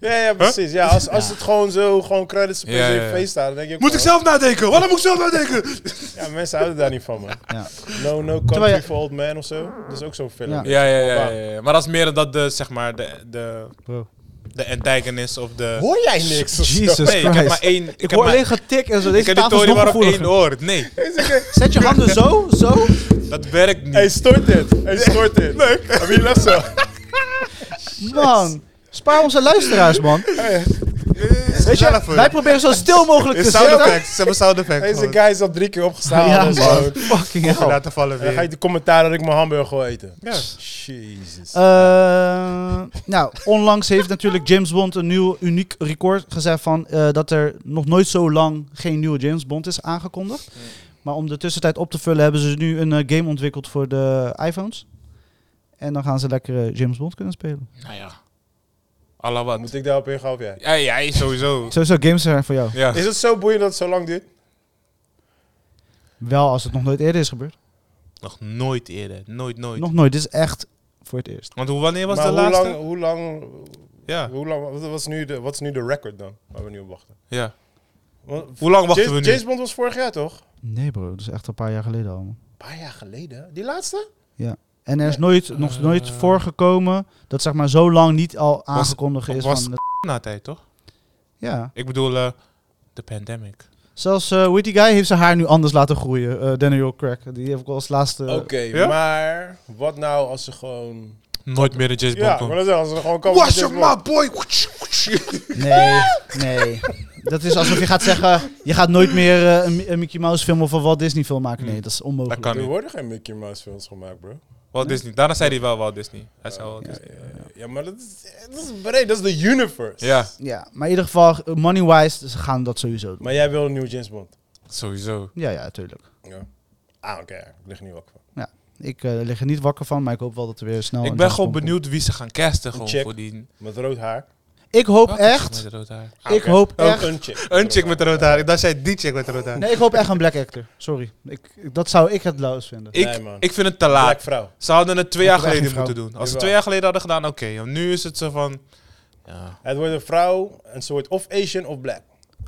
Ja, ja, precies. Ja, als, als het gewoon zo, gewoon credits op
Ja,
je
ja, ja.
face staan, dan denk je ook
moet ik
van,
zelf nadenken? Waarom moet ik zelf nadenken?
Ja, mensen houden daar niet van, man.
Ja.
No, no
Terwijl je-
country for old man of zo. Dat is ook zo'n film.
Ja.
Ja, ja, ja, ja, ja. Maar dat is meer dat de, zeg maar, de, de,
Bro.
de antagonist of de...
Hoor jij niks? of zo?
Jesus
Nee, ik heb
Christ.
maar één...
Ik,
heb
hoor
maar-
alleen getik en zo.
Ik
Deze
heb die
tafel is
toren
nog
maar op één
gevoeliger.
oor. Nee,
Zet (laughs) je handen zo, zo.
dat werkt niet.
Hey, stort dit. Hey, stort dit. Leuk. Heb je lef zo?
(laughs)
Man, spaar onze luisteraars, man. Weet je, wij proberen zo stil mogelijk te
Sound
zitten.
effects. Ze hebben sound effects.
Deze
gewoon.
guy is al drie keer opgestaan.
Ja,
en zo.
man. Fucking
Om
hell.
laten vallen
Dan ga je
weer.
de commentaar dat ik mijn hamburger wil eten.
Ja.
Jezus.
Eh, nou, onlangs heeft natuurlijk James Bond een nieuw uniek record gezet van eh, dat er nog nooit zo lang geen nieuwe James Bond is aangekondigd. Maar om de tussentijd op te vullen hebben ze nu een eh, game ontwikkeld voor de iPhones. En dan gaan ze lekker eh, James Bond kunnen spelen.
Nou ja. Allah wat.
Moet ik daarop ingaan of jij?
Ja, ja, sowieso.
Sowieso games zijn voor jou.
Ja.
Is het zo boeiend dat het zo lang duurt?
Wel als het nog nooit eerder is gebeurd.
Nog nooit eerder. Nooit, nooit.
Nog nooit, dit is echt voor het eerst.
Want hoe, wanneer was
maar
de
hoe
laatste? Ah.
lang, hoe lang,
Ja.
hoe lang wat, wat is nu de, wat is nu de record dan, waar we nu op wachten?
ja.
Want-
Hoe lang wachten
James,
we nu?
James Bond was vorig jaar toch? Een
Nee bro, dat is echt een paar jaar geleden al. man.
paar jaar geleden. Die laatste?
En er is nooit, nog nooit voorgekomen dat zeg maar zo lang niet al aangekondigd is.
was-
van,
na tijd, toch?
ja.
Ik bedoel, eh, de pandemic.
Zelfs eh Witty Guy heeft zijn haar nu anders laten groeien. eh, Daniel Craig, die heb ik al als laatste...
Oké,
ja?
Eh, maar wat nou als ze gewoon...
Nooit meer de James Bond
Ja,
komt.
maar dat is als ze gewoon komen met James Bond.
boy!
Nee, nee. Dat is alsof je gaat zeggen, je gaat nooit meer eh, een, Mi- een Mickey Mouse film of een Walt Disney film maken. Nee, dat is
Dat
onmogelijk.
kan
Er
niet.
worden geen Mickey Mouse films gemaakt, bro.
Walt Disney. Daarna zei hij wel Walt Disney. Hij zei Walt Disney.
Ja, ja, maar dat is, dat is breed, dat is de universe.
Ja,
Ja, maar in ieder geval, eh, money-wise, ze gaan dat sowieso doen.
Maar jij wil een nieuwe James Bond?
sowieso.
Ja, ja, tuurlijk.
Ja. Ah, oké, ik lig er niet wakker van.
Ik eh, lig er niet wakker van, maar ik hoop wel dat er weer snel...
Ik
een
ben
James
gewoon
Bond
benieuwd wie ze gaan casten. Gewoon
chick.
voor die...
Met rood haar.
komt. Ik hoop
Wat is
echt,
met rood haar?
Ah,
ik
oké.
hoop
Ook
echt...
Een chick.
Een chick met rood haar. Ik dacht jij die chick met rood haar.
Nee, ik hoop echt een black actor. Sorry. Ik, ik- dat zou ik het lauwst vinden.
Nee,
Ik,
man.
ik vind het te laat.
Black vrouw.
Ze hadden het twee
Ik
jaar
heb echt
geleden
geen
moeten doen. Als ze
Jawel.
twee jaar geleden hadden gedaan, oké. want Nu is het zo van... Ja.
Het wordt een vrouw, een soort of Asian of black.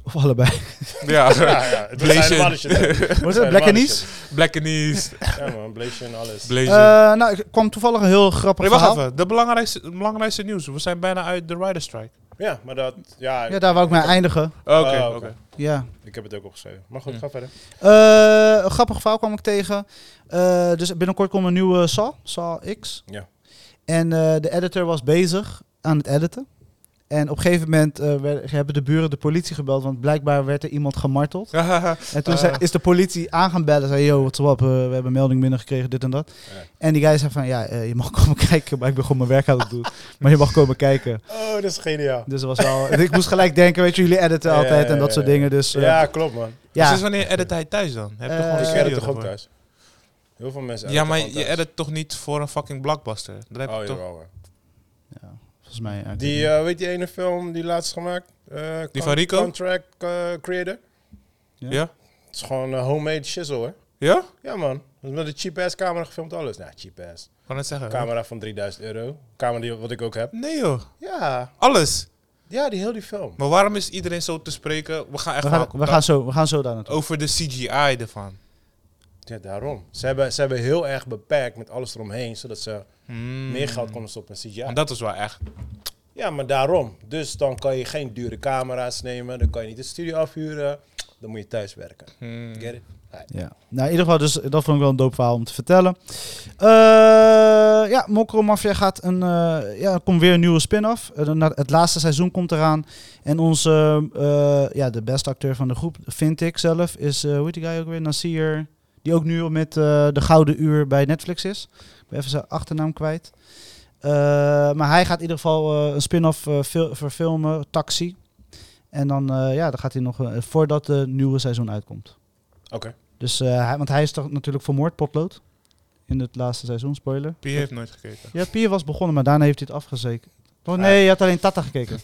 Of allebei. (laughs)
ja.
(laughs) Ja, ja. Het
Blazing.
zijn helemaal shit.
Wordt het
zijn
black
helemaal
Anise?
(laughs) Black and East.
shit. Ja man, Blazer en alles.
Blazer.
Eh nou, ik kwam toevallig een heel grappig
Nee, wacht
verhaal.
even. De belangrijkste, het belangrijkste nieuws. We zijn bijna uit de Rider Strike.
ja, maar dat, ja,
Ja, daar wou ik mee eindigen.
Oké,
Ah,
oké.
oké.
(laughs)
Ja.
ik heb het ook opgeschreven. Maar goed,
Ja.
ga verder.
Eh, een grappig verhaal kwam ik tegen. Eh, dus binnenkort komt een nieuwe Saw, Saw X.
Ja.
En eh, de editor was bezig aan het editen. En op een gegeven moment eh, wer- hebben de buren de politie gebeld, want blijkbaar werd er iemand gemarteld. En toen
Eh.
zei- is de politie aan gaan bellen. Zei, yo, what's up? eh, we hebben een melding binnengekregen, dit en dat.
Ja.
En die guy zei van, ja, eh, je mag (laughs) komen kijken. Maar ik ben gewoon mijn werk aan het doen. maar je mag komen kijken.
Oh, dat is geniaal.
Dus dat was wel... ik moest gelijk denken, weet je, jullie editen
Ja,
altijd en
ja,
dat
ja,
soort
ja.
dingen. Dus eh,
Ja, klopt man.
ja.
Sinds wanneer edit hij thuis dan? Heb je
Eh,
gewoon een
ik
ik
ken
studio
het toch ook
daarvoor?
thuis? Heel veel mensen
Ja,
editen
maar
gewoon
je
thuis.
edit toch niet voor een fucking blockbuster? Dat heb je
Oh,
toch?
jawel, hoor.
Ja, volgens mij. ja, ik
Die,
weet
eh, weet die ene film die laatst gemaakt? Eh, con-
van Rico?
Contract eh, Creator.
Ja.
Ja?
Het is gewoon eh, homemade shizzle, hè?
Ja?
Ja, man. Met een cheap-ass camera gefilmd alles. Nou, cheap-ass.
Kan het zeggen?
Camera van 3000 euro. Camera die, wat ik ook heb.
Nee joh,
Ja.
alles.
Ja, die heel die film.
Maar waarom is iedereen zo te spreken? We gaan echt
niet. we, gaan,
wel
we, gaan zo, we gaan zo daar naartoe.
over de CGI ervan.
Ja, daarom. Ze hebben, ze hebben heel erg beperkt met alles eromheen, zodat ze
Hmm.
meer geld konden stoppen in CGI.
En dat is wel echt.
Ja, maar daarom. Dus dan kan je geen dure camera's nemen, dan kan je niet de studio afhuren, dan moet je thuis werken.
Hmm.
Get it?
Ja. Nou, in ieder geval, dus, dat vond ik wel een doop verhaal om te vertellen. Eh, ja, Mokro Mafia gaat een, eh, ja, er komt weer een nieuwe spin-off. Eh, dan- het laatste seizoen komt eraan. En onze, eh, ja, de beste acteur van de groep, vind ik zelf, is, eh hoe heet die guy ook weer? Nasir. Die ook nu met eh, de Gouden Uur bij Netflix is. Ik ben even zijn achternaam kwijt. Eh, maar hij gaat in ieder geval eh, een spin-off eh, fil- verfilmen, Taxi. En dan, eh, ja, dan gaat hij nog eh, voordat het nieuwe seizoen uitkomt.
Oké.
Dus, eh, hij, want hij is toch natuurlijk vermoord, potlood. In het laatste seizoen, spoiler.
Pierre heeft nooit gekeken.
Ja, Pier was begonnen, maar daarna heeft hij het afgezeken. Oh nee, je had alleen Tata gekeken.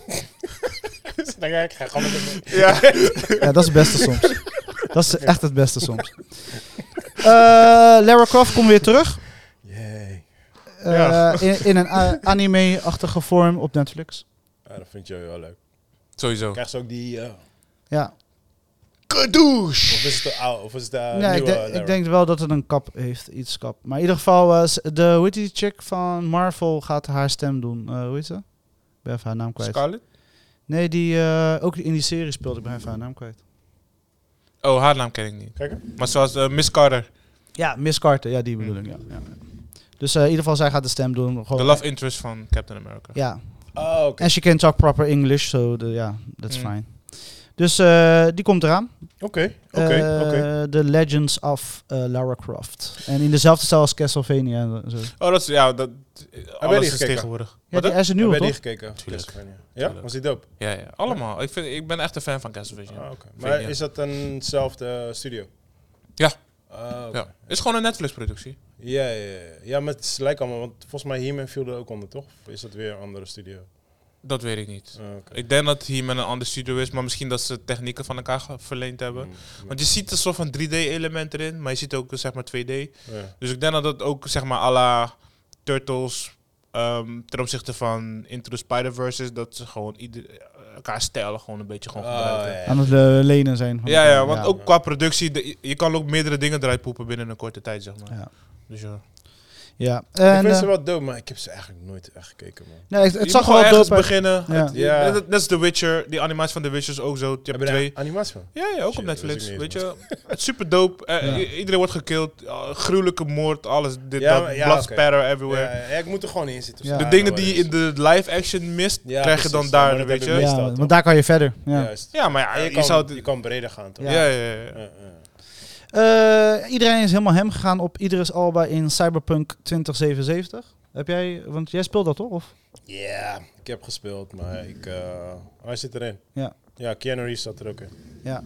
(laughs) dan ga ik ga gewoon met de-
Ja, dat is het beste soms. Dat is echt het beste soms. Eh, Lara Croft komt weer terug.
Yay.
Eh, in, in een a- anime-achtige vorm op Netflix.
Ah, dat vind je wel leuk.
Sowieso.
Krijg ze ook die... eh,
Ja,
of is het de oude, of is het de eh,
nee, ik,
nieuwe...
denk-
Lara?
ik denk wel dat het een kap heeft, iets kap. Maar in ieder geval, eh, s- de, hoe heet die chick van Marvel gaat haar stem doen. Eh hoe heet ze? Ik ben even haar naam kwijt.
Scarlett?
Nee, die eh, ook in die serie speelde. Ik ben even haar naam kwijt.
Oh, haar naam ken ik niet.
Kijk, hè?
Maar zoals eh, Miss Carter,
Ja, Miss Carter. Ja, die
Mm.
bedoel ik. Ja, ja, ja. Dus eh, in ieder geval, zij gaat de stem doen.
de
Gewoon,
love interest van Captain America.
Ja.
Oh, oké.
En she can talk proper English, so the- ja, that's
Mm.
fine. Dus eh, die komt eraan.
Oké, oké,
Eh,
oké.
The Legends of eh, Lara Croft. En in dezelfde stijl als Castlevania. en Zo.
Oh, dat is, ja, dat,
je
alles is
gekeken?
tegenwoordig.
Ja, die, hij is een
Heb
nieuwe,
jij die
toch?
gekeken?
Tuurlijk.
Castlevania. Ja?
Tuurlijk.
Was die dope?
Ja, ja, allemaal. Ik, vind, ik ben echt een fan van Castlevania.
Ah, oké.
Vind
Maar
je-
is dat eenzelfde studio?
Ja.
Ah, oké.
ja. Is gewoon een Netflix-productie.
Ja, ja, ja. ja, maar het lijkt allemaal, want volgens mij He-Man viel er ook onder, toch? Of is dat weer een andere studio?
Dat weet ik niet.
Ah, oké.
Ik denk dat hier met een ander studio is, maar misschien dat ze technieken van elkaar ge- verleend hebben.
Mm, Hmm.
Want je ziet een soort van 3D-element erin, maar je ziet ook eh, zeg maar 2D.
Ja.
Dus ik denk dat dat ook zeg maar à la Turtles ehm, ten opzichte van Into the Spider-Verse is, dat ze gewoon ieder, elkaar stijlen gewoon een beetje gewoon
Ah,
gebruiken.
ja.
Aan het eh, lenen zijn. van
Ja,
elkaar,
ja, want ook qua productie, de- je kan ook meerdere dingen eruit poepen binnen een korte tijd, zeg maar.
Ja.
Dus ja.
Ja.
ik
En,
vind
eh,
ze wel dope, maar ik heb ze eigenlijk nooit echt gekeken, man.
nee, het,
Je
het zag
moet
wel
gewoon ergens
dope uit.
beginnen.
Ja.
Het-
Ja.
Net, net als The Witcher, die animatie van The Witcher is ook zo. Je hebt
Hebben
twee.
daar animatie van?
Ja, ja, ook
Shit, dat
op Netflix.
wist ik
Weet
niet
je, het is super dope. Eh,
Ja.
i- iedereen wordt gekild. eh, gruwelijke moord, alles. Dit,
Ja,
dat,
ja,
blood
oké.
spatter everywhere.
Ja, ja, ik moet er gewoon in zitten. of
Ja.
zo.
De
Ja,
dingen
wel
die je
eens.
in de live action mist,
Ja,
krijg je
precies.
dan
Ja,
daar,
maar dat
weet
heb ik
je.
meestal,
Ja,
toch?
want daar kan je verder. Ja.
Juist.
Ja, maar ja,
En
je,
je, kan,
zou... het-
je kan breder gaan, toch?
ja, ja, ja. ja.
Eh, eh.
Eh, iedereen is helemaal hem gegaan op Idris Alba in Cyberpunk 2077. Heb jij, want jij speelt dat toch? Of?
Ja, ik heb gespeeld, maar ik... eh, hij zit erin.
Ja.
Ja, Keanu Reeves zat er ook in.
Ja.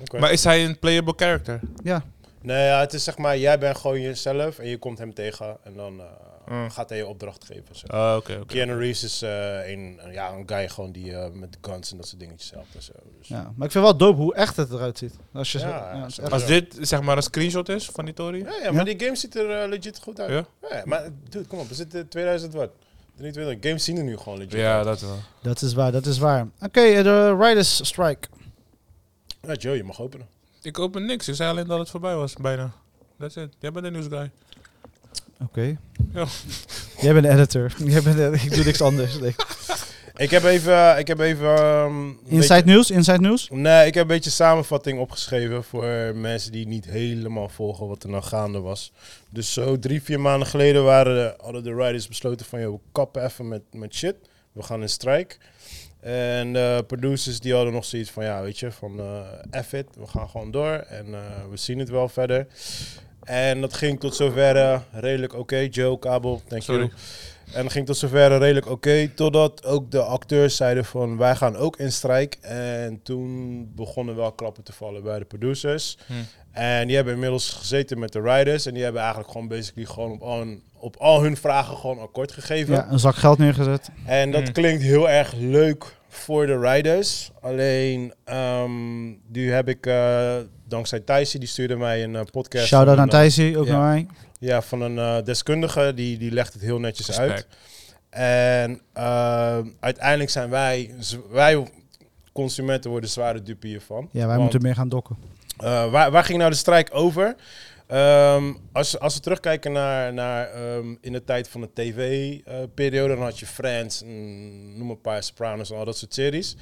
Oké.
Maar is hij een playable character?
Ja.
Nee, ja, het is zeg maar, jij bent gewoon jezelf en je komt hem tegen en dan eh,
Mm.
gaat hij je opdracht geven. Zo.
Oh, oké, oké.
Keanu Reeves is eh, een, een- ja, een guy gewoon die eh, met guns en dat soort dingetjes helpt en zo. Dus,
ja. Maar ik vind wel dope hoe echt het eruit ziet. Als je
Ja,
zo-
ja,
het is
zo.
echt-
Als dit, zeg maar, een screenshot is van die Tory?
ja, ja, maar die game ziet er eh, legit goed uit.
Ja?
Ja, maar dude, kom op, we zitten 2000 wat? 23, games zien er nu gewoon legit
Ja,
uit.
dat wel.
dat is waar, dat is waar. Oké, eh, de Riders Strike.
Ja, Joe, je mag openen.
Ik open niks. Ik zei alleen dat het voorbij was, bijna. That's it. Jij bent de nieuwsguy.
Oké.
Ja.
Jij bent de editor. (laughs) Jij bent de- ik doe niks anders. Nee.
Ik heb even... eh, Ik heb even ehm, een
(laughs) Inside nieuws, inside nieuws.
beetje- nee, ik heb een beetje samenvatting opgeschreven voor mensen die niet helemaal volgen wat er nou gaande was. Dus zo drie, vier maanden geleden waren de, hadden de riders besloten van, joh, we kappen even met, met shit. we gaan in strijk. En eh producers die hadden nog zoiets van, ja, weet je, van eh F it, we gaan gewoon door en eh, we zien het wel verder. En dat ging tot zover eh, redelijk oké. Joe, Kabel, thank
Sorry.
you. En ging tot zover eh, redelijk oké, totdat ook de acteurs zeiden van wij gaan ook in strijk. En toen begonnen wel klappen te vallen bij de producers.
Hmm.
En die hebben inmiddels gezeten met de riders. En die hebben eigenlijk gewoon basically gewoon op al hun, op al hun vragen gewoon akkoord gegeven.
Ja, een zak geld neergezet.
En dat
Mm.
klinkt heel erg leuk voor de riders. Alleen, ehm, nu heb ik, eh, dankzij Thijsie, die stuurde mij een eh, podcast.
Shout-out
van
aan
een, eh,
Thijsie, ook
ja.
naar mij.
Ja, van een eh, deskundige, die, die legt het heel netjes uit. En ehm, uiteindelijk zijn wij, z- wij consumenten worden zware dupe hiervan.
Ja, wij
Want,
moeten meer gaan dokken.
eh, waar, waar ging nou de strijk over? Ehm, als, als we terugkijken naar, naar ehm, in de tijd van de tv-periode, dan had je Friends, mm, noem een paar Sopranos en al dat soort series.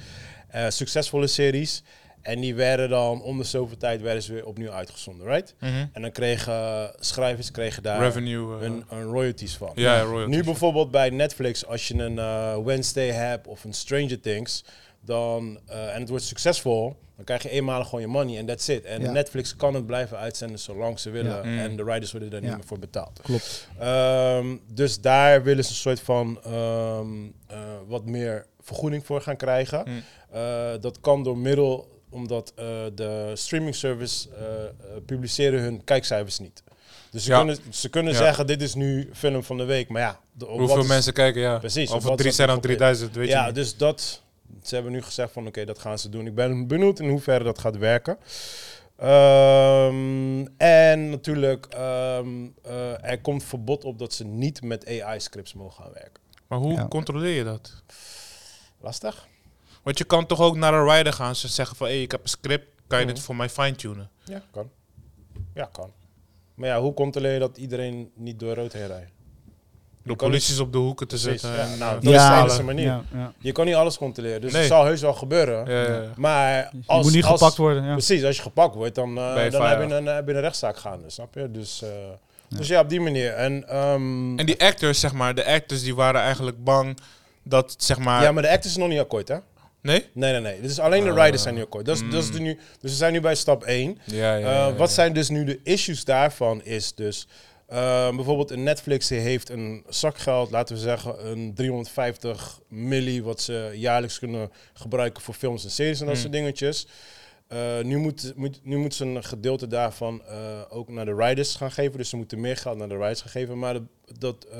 Eh, succesvolle series. En die werden dan om de zoveel tijd werden ze weer opnieuw uitgezonden, right?
Mhm.
En dan kregen eh, schrijvers kregen daar
Revenue. eh,
een, een royalties van.
ja, ja, royalties.
Nu bijvoorbeeld bij Netflix, als je een eh, Wednesday hebt of een Stranger Things, dan, eh, en het wordt succesvol, dan krijg je eenmalig gewoon je money en that's it. En
Ja.
Netflix kan het blijven uitzenden zolang ze willen.
Ja.
Mm.
En de riders worden daar
Ja.
niet meer voor betaald.
Klopt.
Ehm, dus daar willen ze een soort van ehm, eh, wat meer vergoeding voor gaan krijgen.
Mm.
Eh, dat kan door middel omdat eh, de streaming service eh, eh, publiceren hun kijkcijfers niet. Dus ze
Ja.
kunnen, ze kunnen
Ja.
zeggen, dit is nu film van de week. Maar ja, de- op
Hoeveel
wat is-
mensen kijken, ja.
Precies, op
Of
wat
het 3
staat
zijn
er
dan
voor-
3000, weet
ja,
je niet.
dus dat. Ze hebben nu gezegd van oké, dat gaan ze doen. Ik ben benieuwd in hoeverre dat gaat werken. Ehm, en natuurlijk, ehm, eh, er komt verbod op dat ze niet met AI-scripts mogen gaan werken.
Maar hoe
Ja.
controleer je dat?
Lastig?
Want je kan toch ook naar een rider gaan en ze zeggen van... hé, hey, ik heb een script, kan je dit
Mhm.
voor mij fine-tunen?
Ja, kan. Ja, kan. Maar ja, hoe controleer je dat iedereen niet door rood heen rijdt?
Door
kan dus-
polities op de hoeken te
Precies,
zetten.
ja.
en,
Nou,
eh,
dat
te
is de
halen.
enige manier.
Ja, ja.
Je kan niet alles controleren, dus
Nee.
het zal heus wel gebeuren.
Ja, ja, ja.
Maar
Je
als,
moet niet
als,
gepakt worden. Ja.
Precies, als je gepakt wordt, dan, eh,
Ben je
dan heb, je
veilig.
een, heb je een rechtszaak gaande, snap je? Dus, eh, dus ja, op die manier. En, ehm,
En die actors, zeg maar, de actors die waren eigenlijk bang dat, zeg maar...
ja, maar de act is nog niet akkoord, hè?
nee?
Nee, nee, nee. Dit is alleen de
Ah. Mm.
riders zijn nu akkoord. Dat is, dat is de nu, dus we zijn nu bij stap 1.
Ja,
Eh, Wat zijn dus nu de issues daarvan is dus... eh, bijvoorbeeld een Netflix die heeft een zakgeld, laten we zeggen een 350 milli... wat ze jaarlijks kunnen gebruiken voor films en series en dat
Hmm.
soort dingetjes. Eh, nu, moet, moet, nu moet ze een gedeelte daarvan eh, ook naar de riders gaan geven. Dus ze moeten meer geld naar de riders gaan geven. Maar de- dat eh,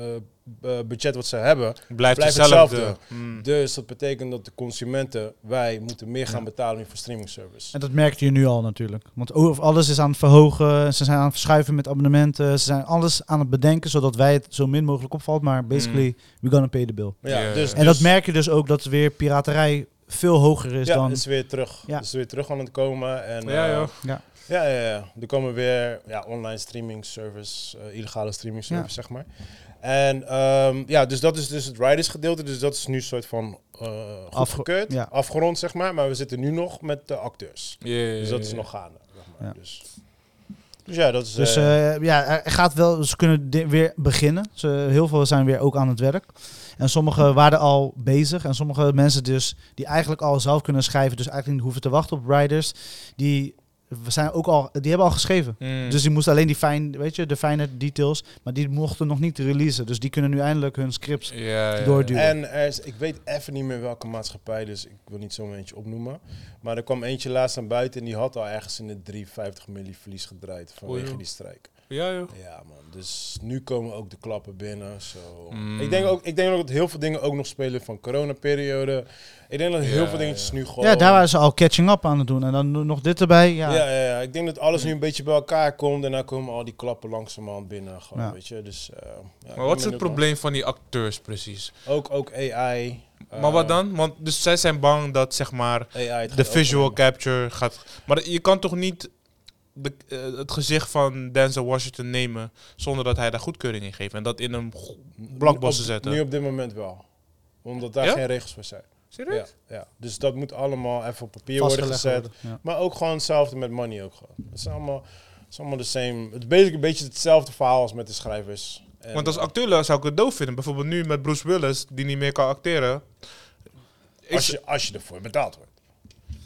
b- budget wat ze hebben,
Blijft,
blijft
hetzelfde.
hetzelfde.
Mm.
dus dat betekent dat de consumenten, wij, moeten meer gaan betalen nu voor streaming service.
En dat merkt je nu al natuurlijk. Want o- of alles is aan het verhogen. Ze zijn aan het verschuiven met abonnementen. Ze zijn alles aan het bedenken zodat wij het zo min mogelijk opvalt. Maar basically, we gonna pay the bill.
Ja,
Ja.
Hmm. dus,
En dat
dus-
merk je dus ook dat weer piraterij veel hoger is
ja,
Dus
dus, eh,
dan...
is weer terug.
Ja.
Is weer terug aan het komen. En,
Ja,
eh,
joh.
Ja.
Ja, ja, ja. Er komen weer ja, online streaming service, eh, illegale streaming service, zeg maar. En ehm, ja, dus dat is dus het riders gedeelte. Dus dat is nu een soort van eh afgekeurd,
ja.
afgerond, zeg maar. Maar we zitten nu nog met de acteurs. Dus dat is nog gaande. Zeg maar.
Ja.
Dus. dus ja, dat is...
Dus
eh,
eh, ja, er gaat wel, ze kunnen di- weer beginnen. Ze, heel veel zijn weer ook aan het werk. En sommigen waren al bezig. En sommige mensen dus, die eigenlijk al zelf kunnen schrijven, dus eigenlijk niet hoeven te wachten op riders, die, zijn ook al, die hebben al geschreven.
Mm.
Dus die moesten alleen die fijn, weet je, de fijne details, maar die mochten nog niet releasen. Dus die kunnen nu eindelijk hun scripts.
Ja, ja, ja.
Doorduwen. duwen.
En er is, ik weet even niet meer welke maatschappij, dus ik wil niet zo'n eentje opnoemen. Maar er kwam eentje laatst aan buiten en die had al ergens in de 350 milli verlies gedraaid vanwege
Oei, joh.
die strijk.
Ja, joh.
Ja man, dus nu komen ook de klappen binnen. zo.
Mm.
Ik, denk ook, ik denk ook dat heel veel dingen ook nog spelen van coronaperiode. Ik denk dat heel
Ja,
veel dingetjes nu gewoon...
Ja, daar waren ze al catching up aan het doen. En dan no- nog dit erbij. Ja,
ja. Ja, ja, ik denk dat alles nu een beetje bij elkaar komt en dan komen al die klappen langzamerhand binnen. Gewoon,
Ja.
weet je? Dus, eh, ja, ik
Maar
ben
wat is het
benieuwd, man.
probleem van die acteurs precies?
Ook, ook AI. eh,
maar wat dan? Want dus zij zijn bang dat, zeg maar,
AI het gaat
de visual
overnemen.
capture gaat... Maar je kan toch niet de, eh, het gezicht van Denzel Washington nemen zonder dat hij daar goedkeuring in geeft? En dat in een... go- Blockbuster
Op-
zetten.
Nu op dit moment wel. Omdat daar
Ja?
geen regels voor zijn.
Serieus?
Ja, ja. Dus dat moet allemaal even op papier worden
vastgelegd
gezet.
worden. Ja.
Maar ook gewoon hetzelfde met money ook gewoon. Het is allemaal, het is allemaal de same. Het is basically een beetje hetzelfde verhaal als met de schrijvers. En,
Want als
eh,
acteur zou ik het doof vinden. Bijvoorbeeld nu met Bruce Willis, die niet meer kan acteren. Ik
als
z-
je, als je ervoor betaald wordt.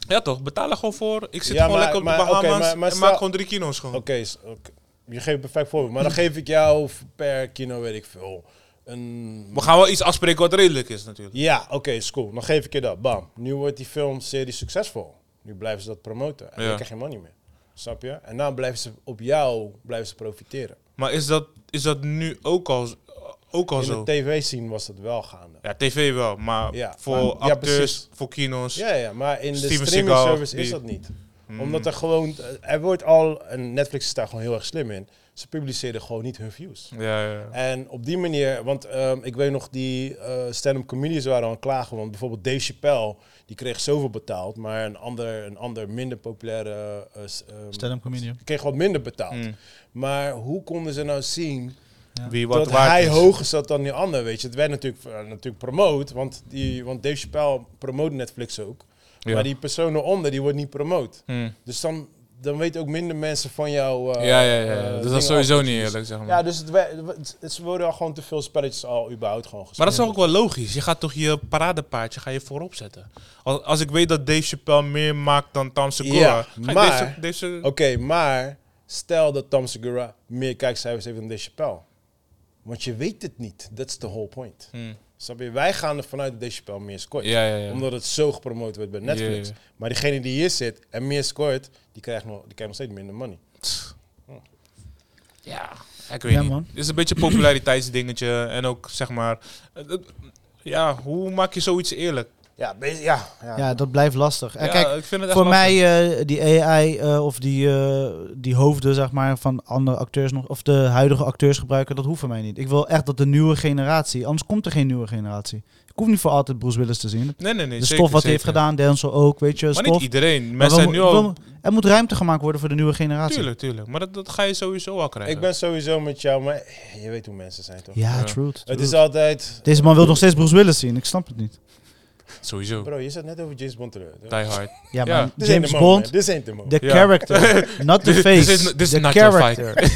Ja toch, betaal er gewoon voor. Ik zit
Ja,
gewoon
maar-
lekker op
maar-
de
oké,
Bahamas
maar- maar
en
stel-
maak gewoon drie kino's gewoon.
Oké, is- oké. je geeft een perfect voorbeeld. Maar dan geef ik jou per kino, weet ik veel, een...
We gaan wel iets afspreken wat redelijk is natuurlijk.
Ja, oké, is cool. Dan geef ik je dat. Bam. Nu wordt die filmserie succesvol. Nu blijven ze dat promoten. En
Ja.
dan krijg je money meer. Snap je? En dan blijven ze op jou blijven ze profiteren.
Maar is dat, is dat nu ook al, ook al
In
Ah, zo?
de tv-scene was dat wel gaande.
ja, tv wel, maar
Ja,
voor
maar- ja,
acteurs,
precies.
voor kino's.
Ja, ja, maar in de
Steven
streaming
Seagal,
service is
die- Hmm.
dat niet. Omdat er gewoon, eh, er wordt al, en Netflix is daar gewoon heel erg slim in, ze publiceren gewoon niet hun views.
Ja, ja.
En op die manier, want ehm, ik weet nog, die eh stand-up comedians waren al aan het klagen. Want bijvoorbeeld Dave Chappelle, die kreeg zoveel betaald. Maar een ander, een ander minder populaire eh, s- ehm,
Stand-up comedian.
kreeg wat minder betaald.
Mm.
Maar hoe konden ze nou zien
Wie wat
dat
waard
hij
is.
hoger zat dan die ander, weet je. Het werd natuurlijk, eh, natuurlijk promoot, want, die, want Dave Chappelle promoot Netflix ook.
Ja.
Maar die persoon eronder, die wordt niet promoot.
Hmm.
Dus dan, dan weten ook minder mensen van jou... eh,
ja, ja, ja.
eh,
dus dat
dingen
is sowieso
af.
niet eerlijk, zeg maar.
Ja, dus het, we- het, het- ze worden al gewoon te veel spelletjes al überhaupt gewoon
maar
gespeeld.
dat is ook wel logisch. Je gaat toch je paradepaardje ga je voorop zetten. Als, als ik weet dat Dave Chappelle meer maakt dan Tom Segura,
Ja,
ga ik
maar-
deze, deze
Oké, maar stel dat Tom Segura meer kijkcijfers heeft dan Dave Chappelle. Want je weet het niet. That's the whole point.
Hmm.
Snap je? Wij gaan er vanuit dat Dave Chappelle meer scoort.
Ja, ja, ja.
Omdat het zo gepromoot wordt bij Netflix.
Ja, ja.
Maar diegene die hier zit en meer scoort, die krijgt nog, die krijgt nog steeds minder money.
Ja, ik weet
Ja,
niet.
man.
Het is een beetje een populariteitsdingetje. En ook, zeg maar... het- het- Ja, hoe maak je zoiets eerlijk?
Ja, be- ja, ja.
Ja, dat blijft lastig. En
Ja,
kijk,
ik vind het echt
voor
lastig.
mij eh, die AI eh, of die, eh, die hoofden zeg maar, van andere acteurs nog, of de huidige acteurs gebruiken, dat hoeft voor mij niet. Ik wil echt dat de nieuwe generatie, anders komt er geen nieuwe generatie. Ik hoef niet voor altijd Bruce Willis te zien.
Nee, nee, nee.
De stof
zeker,
wat hij heeft
zeker.
gedaan, Denzel ook, weet je,
Maar
stof.
niet iedereen.
Maar
Mensen zijn
we
nu
mo-
al...
we- er moet ruimte gemaakt worden voor de nieuwe generatie.
Tuurlijk, tuurlijk. Maar dat, dat ga je sowieso al krijgen.
Ik ben sowieso met jou, maar je weet hoe mensen zijn toch?
Ja,
Ja.
truth.
Het
truth.
is altijd...
Deze man wil nog steeds Bruce Willis zien. Ik snap het niet.
Sowieso.
Bro, je zat net over James Bond terug.
Die hard.
Ja, maar
Ja.
This ain't
James
the moment,
Bond,
man. This ain't the moment.
the
Ja. (laughs)
character, not the
This
face.
is n- this is
the
not your fight.
character.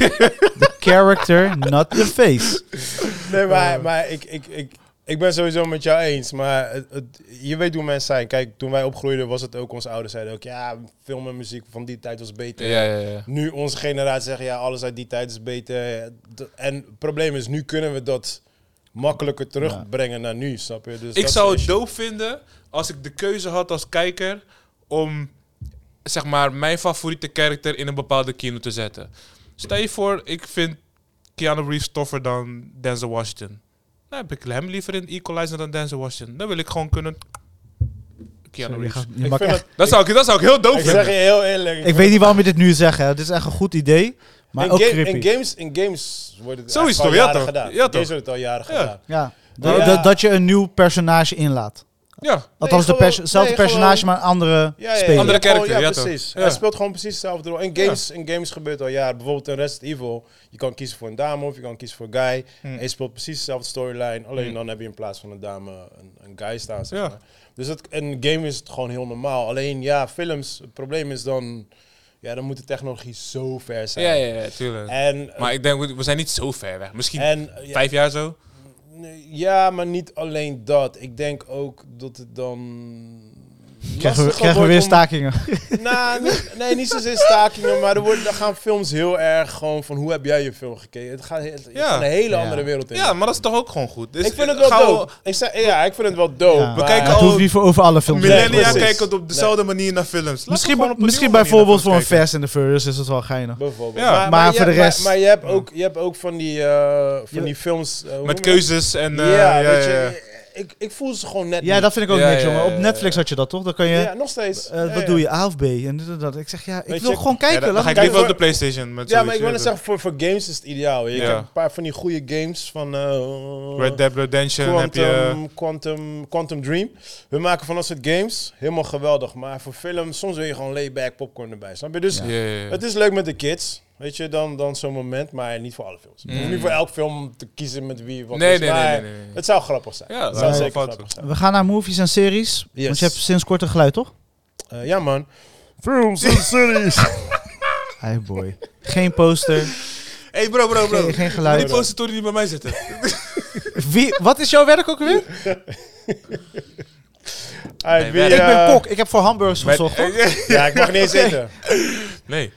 the character, not the face.
Eh.
Nee, maar, maar ik, ik, ik, ik ben sowieso met jou eens. Maar het, het- je weet hoe mensen zijn. Kijk, toen wij opgroeiden was het ook, onze ouders zeiden ook... Ja, film en muziek van die tijd was beter.
(laughs) Ja, ja, ja.
Nu onze generatie zegt, ja, alles uit die tijd is beter. D- En het probleem is, nu kunnen we dat makkelijker terugbrengen naar nu, snap je? Dus
Ik
dat
zou
is-
het doof vinden als ik de keuze had als kijker om zeg maar mijn favoriete karakter in een bepaalde kino te zetten. Stel je voor, ik vind Keanu Reeves toffer dan Denzel Washington. Dan heb ik hem liever in Equalizer dan Denzel Washington. Dan wil ik gewoon kunnen. Keanu
Sorry, je
Reeves.
gaat- je
Ik,
mag
vind
echt-
het-
Dat zou ik, dat zou ik heel doof
ik zeg je
vinden.
heel eerlijk. ik
ik weet niet waarom je dit nu zegt. Hè. Dit is echt een goed idee, maar
in,
ook
game-
creepy.
in games, in games wordt het
Zo
eigenlijk
is het
al
toch, ja
jaren
toch?
gedaan.
Ja
In games
toch?
wordt het al jaren
Ja.
gedaan.
ja.
Oh, Ja.
Dat- dat- dat je een nieuw personage inlaat.
Ja.
Althans,
gewoon-
hetzelfde
nee,
personage,
gewoon-
maar een andere
Ja, ja, ja,
speler.
Andere
Ja, gewoon-
character, ja, toch?
precies.
Ja.
Hij speelt gewoon precies dezelfde rol. In games, in games gebeurt al jaren. Bijvoorbeeld in Resident Evil, je kan kiezen voor een dame of je kan kiezen voor een guy.
Hm.
En je speelt precies dezelfde storyline, alleen dan heb je in plaats van een dame een, een guy staan. Zeg
Ja.
maar. Dus dat, in game is het gewoon heel normaal. Alleen ja, films, het probleem is dan, ja, dan moet de technologie zo ver zijn.
Ja, ja, ja, tuurlijk.
En, eh,
maar ik denk, we- we zijn niet zo ver weg. Misschien
en ja,
vijf jaar zo.
nee, ja, maar niet alleen dat. Ik denk ook dat het dan.
Krijgen we,
lastiger
krijgen we
wordt
weer
om-
stakingen.
Nou, nee, nee, niet zozeer stakingen, maar er, worden, er gaan films heel erg gewoon van hoe heb jij je film gekeken? Het gaat, het, het
Ja.
gaat een hele
Ja.
andere wereld in.
Ja, maar dat is toch ook gewoon goed. Dus
ik vind het wel
gaan we-
dope. Ik zei, ja, ik vind het wel dope.
Ja.
maar-
kijken
Het
al-
hoeft niet voor over alle films. te
Nee,
Millennia
zijn.
precies.
kijken op dezelfde manier naar films. Laten we
Misschien,
gewoon op een
misschien
nieuwe manier
bijvoorbeeld voor
naar
een
films
Fast and the Furious is dat wel geinig.
Bijvoorbeeld.
Ja.
Maar
je
voor de
hebt-
rest-
Maar, maar je, hebt ook, je hebt ook van die, eh, van
Ja.
die films... eh, hoe
kijken.
noem
Met
je
keuzes en...
dat?
eh,
ja,
ja,
weet
ja, ja.
je, ik, ik voel ze gewoon net
Ja,
niet.
dat vind ik ook
Ja,
niks,
ja,
jongen.
ja,
Op
ja.
Netflix had je dat toch? Dan kan je...
Ja, nog steeds.
eh,
Ja,
wat
ja.
doe je? A of B? En dit en dat. Ik zeg, ja, ik
Weet
wil
je-
gewoon
Ja,
kijken.
dan
laat
ga
me
ik liever op de
voor-
PlayStation. Met
Ja, maar ik wil net
zoiets,
zeggen, voor, voor games is het ideaal. Je
Ja.
hebt een paar van die goede games van... eh,
Red Dead Redemption heb
Quantum,
je...
Quantum, Quantum Dream. We maken van dat soort games helemaal geweldig. Maar voor film, soms wil je gewoon layback popcorn erbij. Snap je? Dus
Ja, ja, ja.
het is leuk met de kids. Weet je, dan, dan zo'n moment, maar niet voor alle films. Je hoeft niet voor elk film te kiezen met wie wat
Nee,
is,
nee, nee,
maar
nee, nee, nee.
Het zou grappig zijn.
Ja,
het
dat
zou
is
zeker
wel fout.
grappig zijn.
We gaan naar movies en series.
Yes.
Want je hebt sinds kort een geluid, toch?
Eh, ja, man. Films en series.
(laughs) Hey boy. Geen
(laughs)
poster,
Hey bro, bro, bro.
geen, geen
Die
geluid.
poster die niet bij mij zitten.
Wie, wat is jouw werk ook weer?
Hey, wie,
werk.
Ik ben
eh, (laughs)
kok. Ik heb voor hamburgers gezocht.
(laughs)
hoor.
Ja, ik mag niet eens eten.
Nee.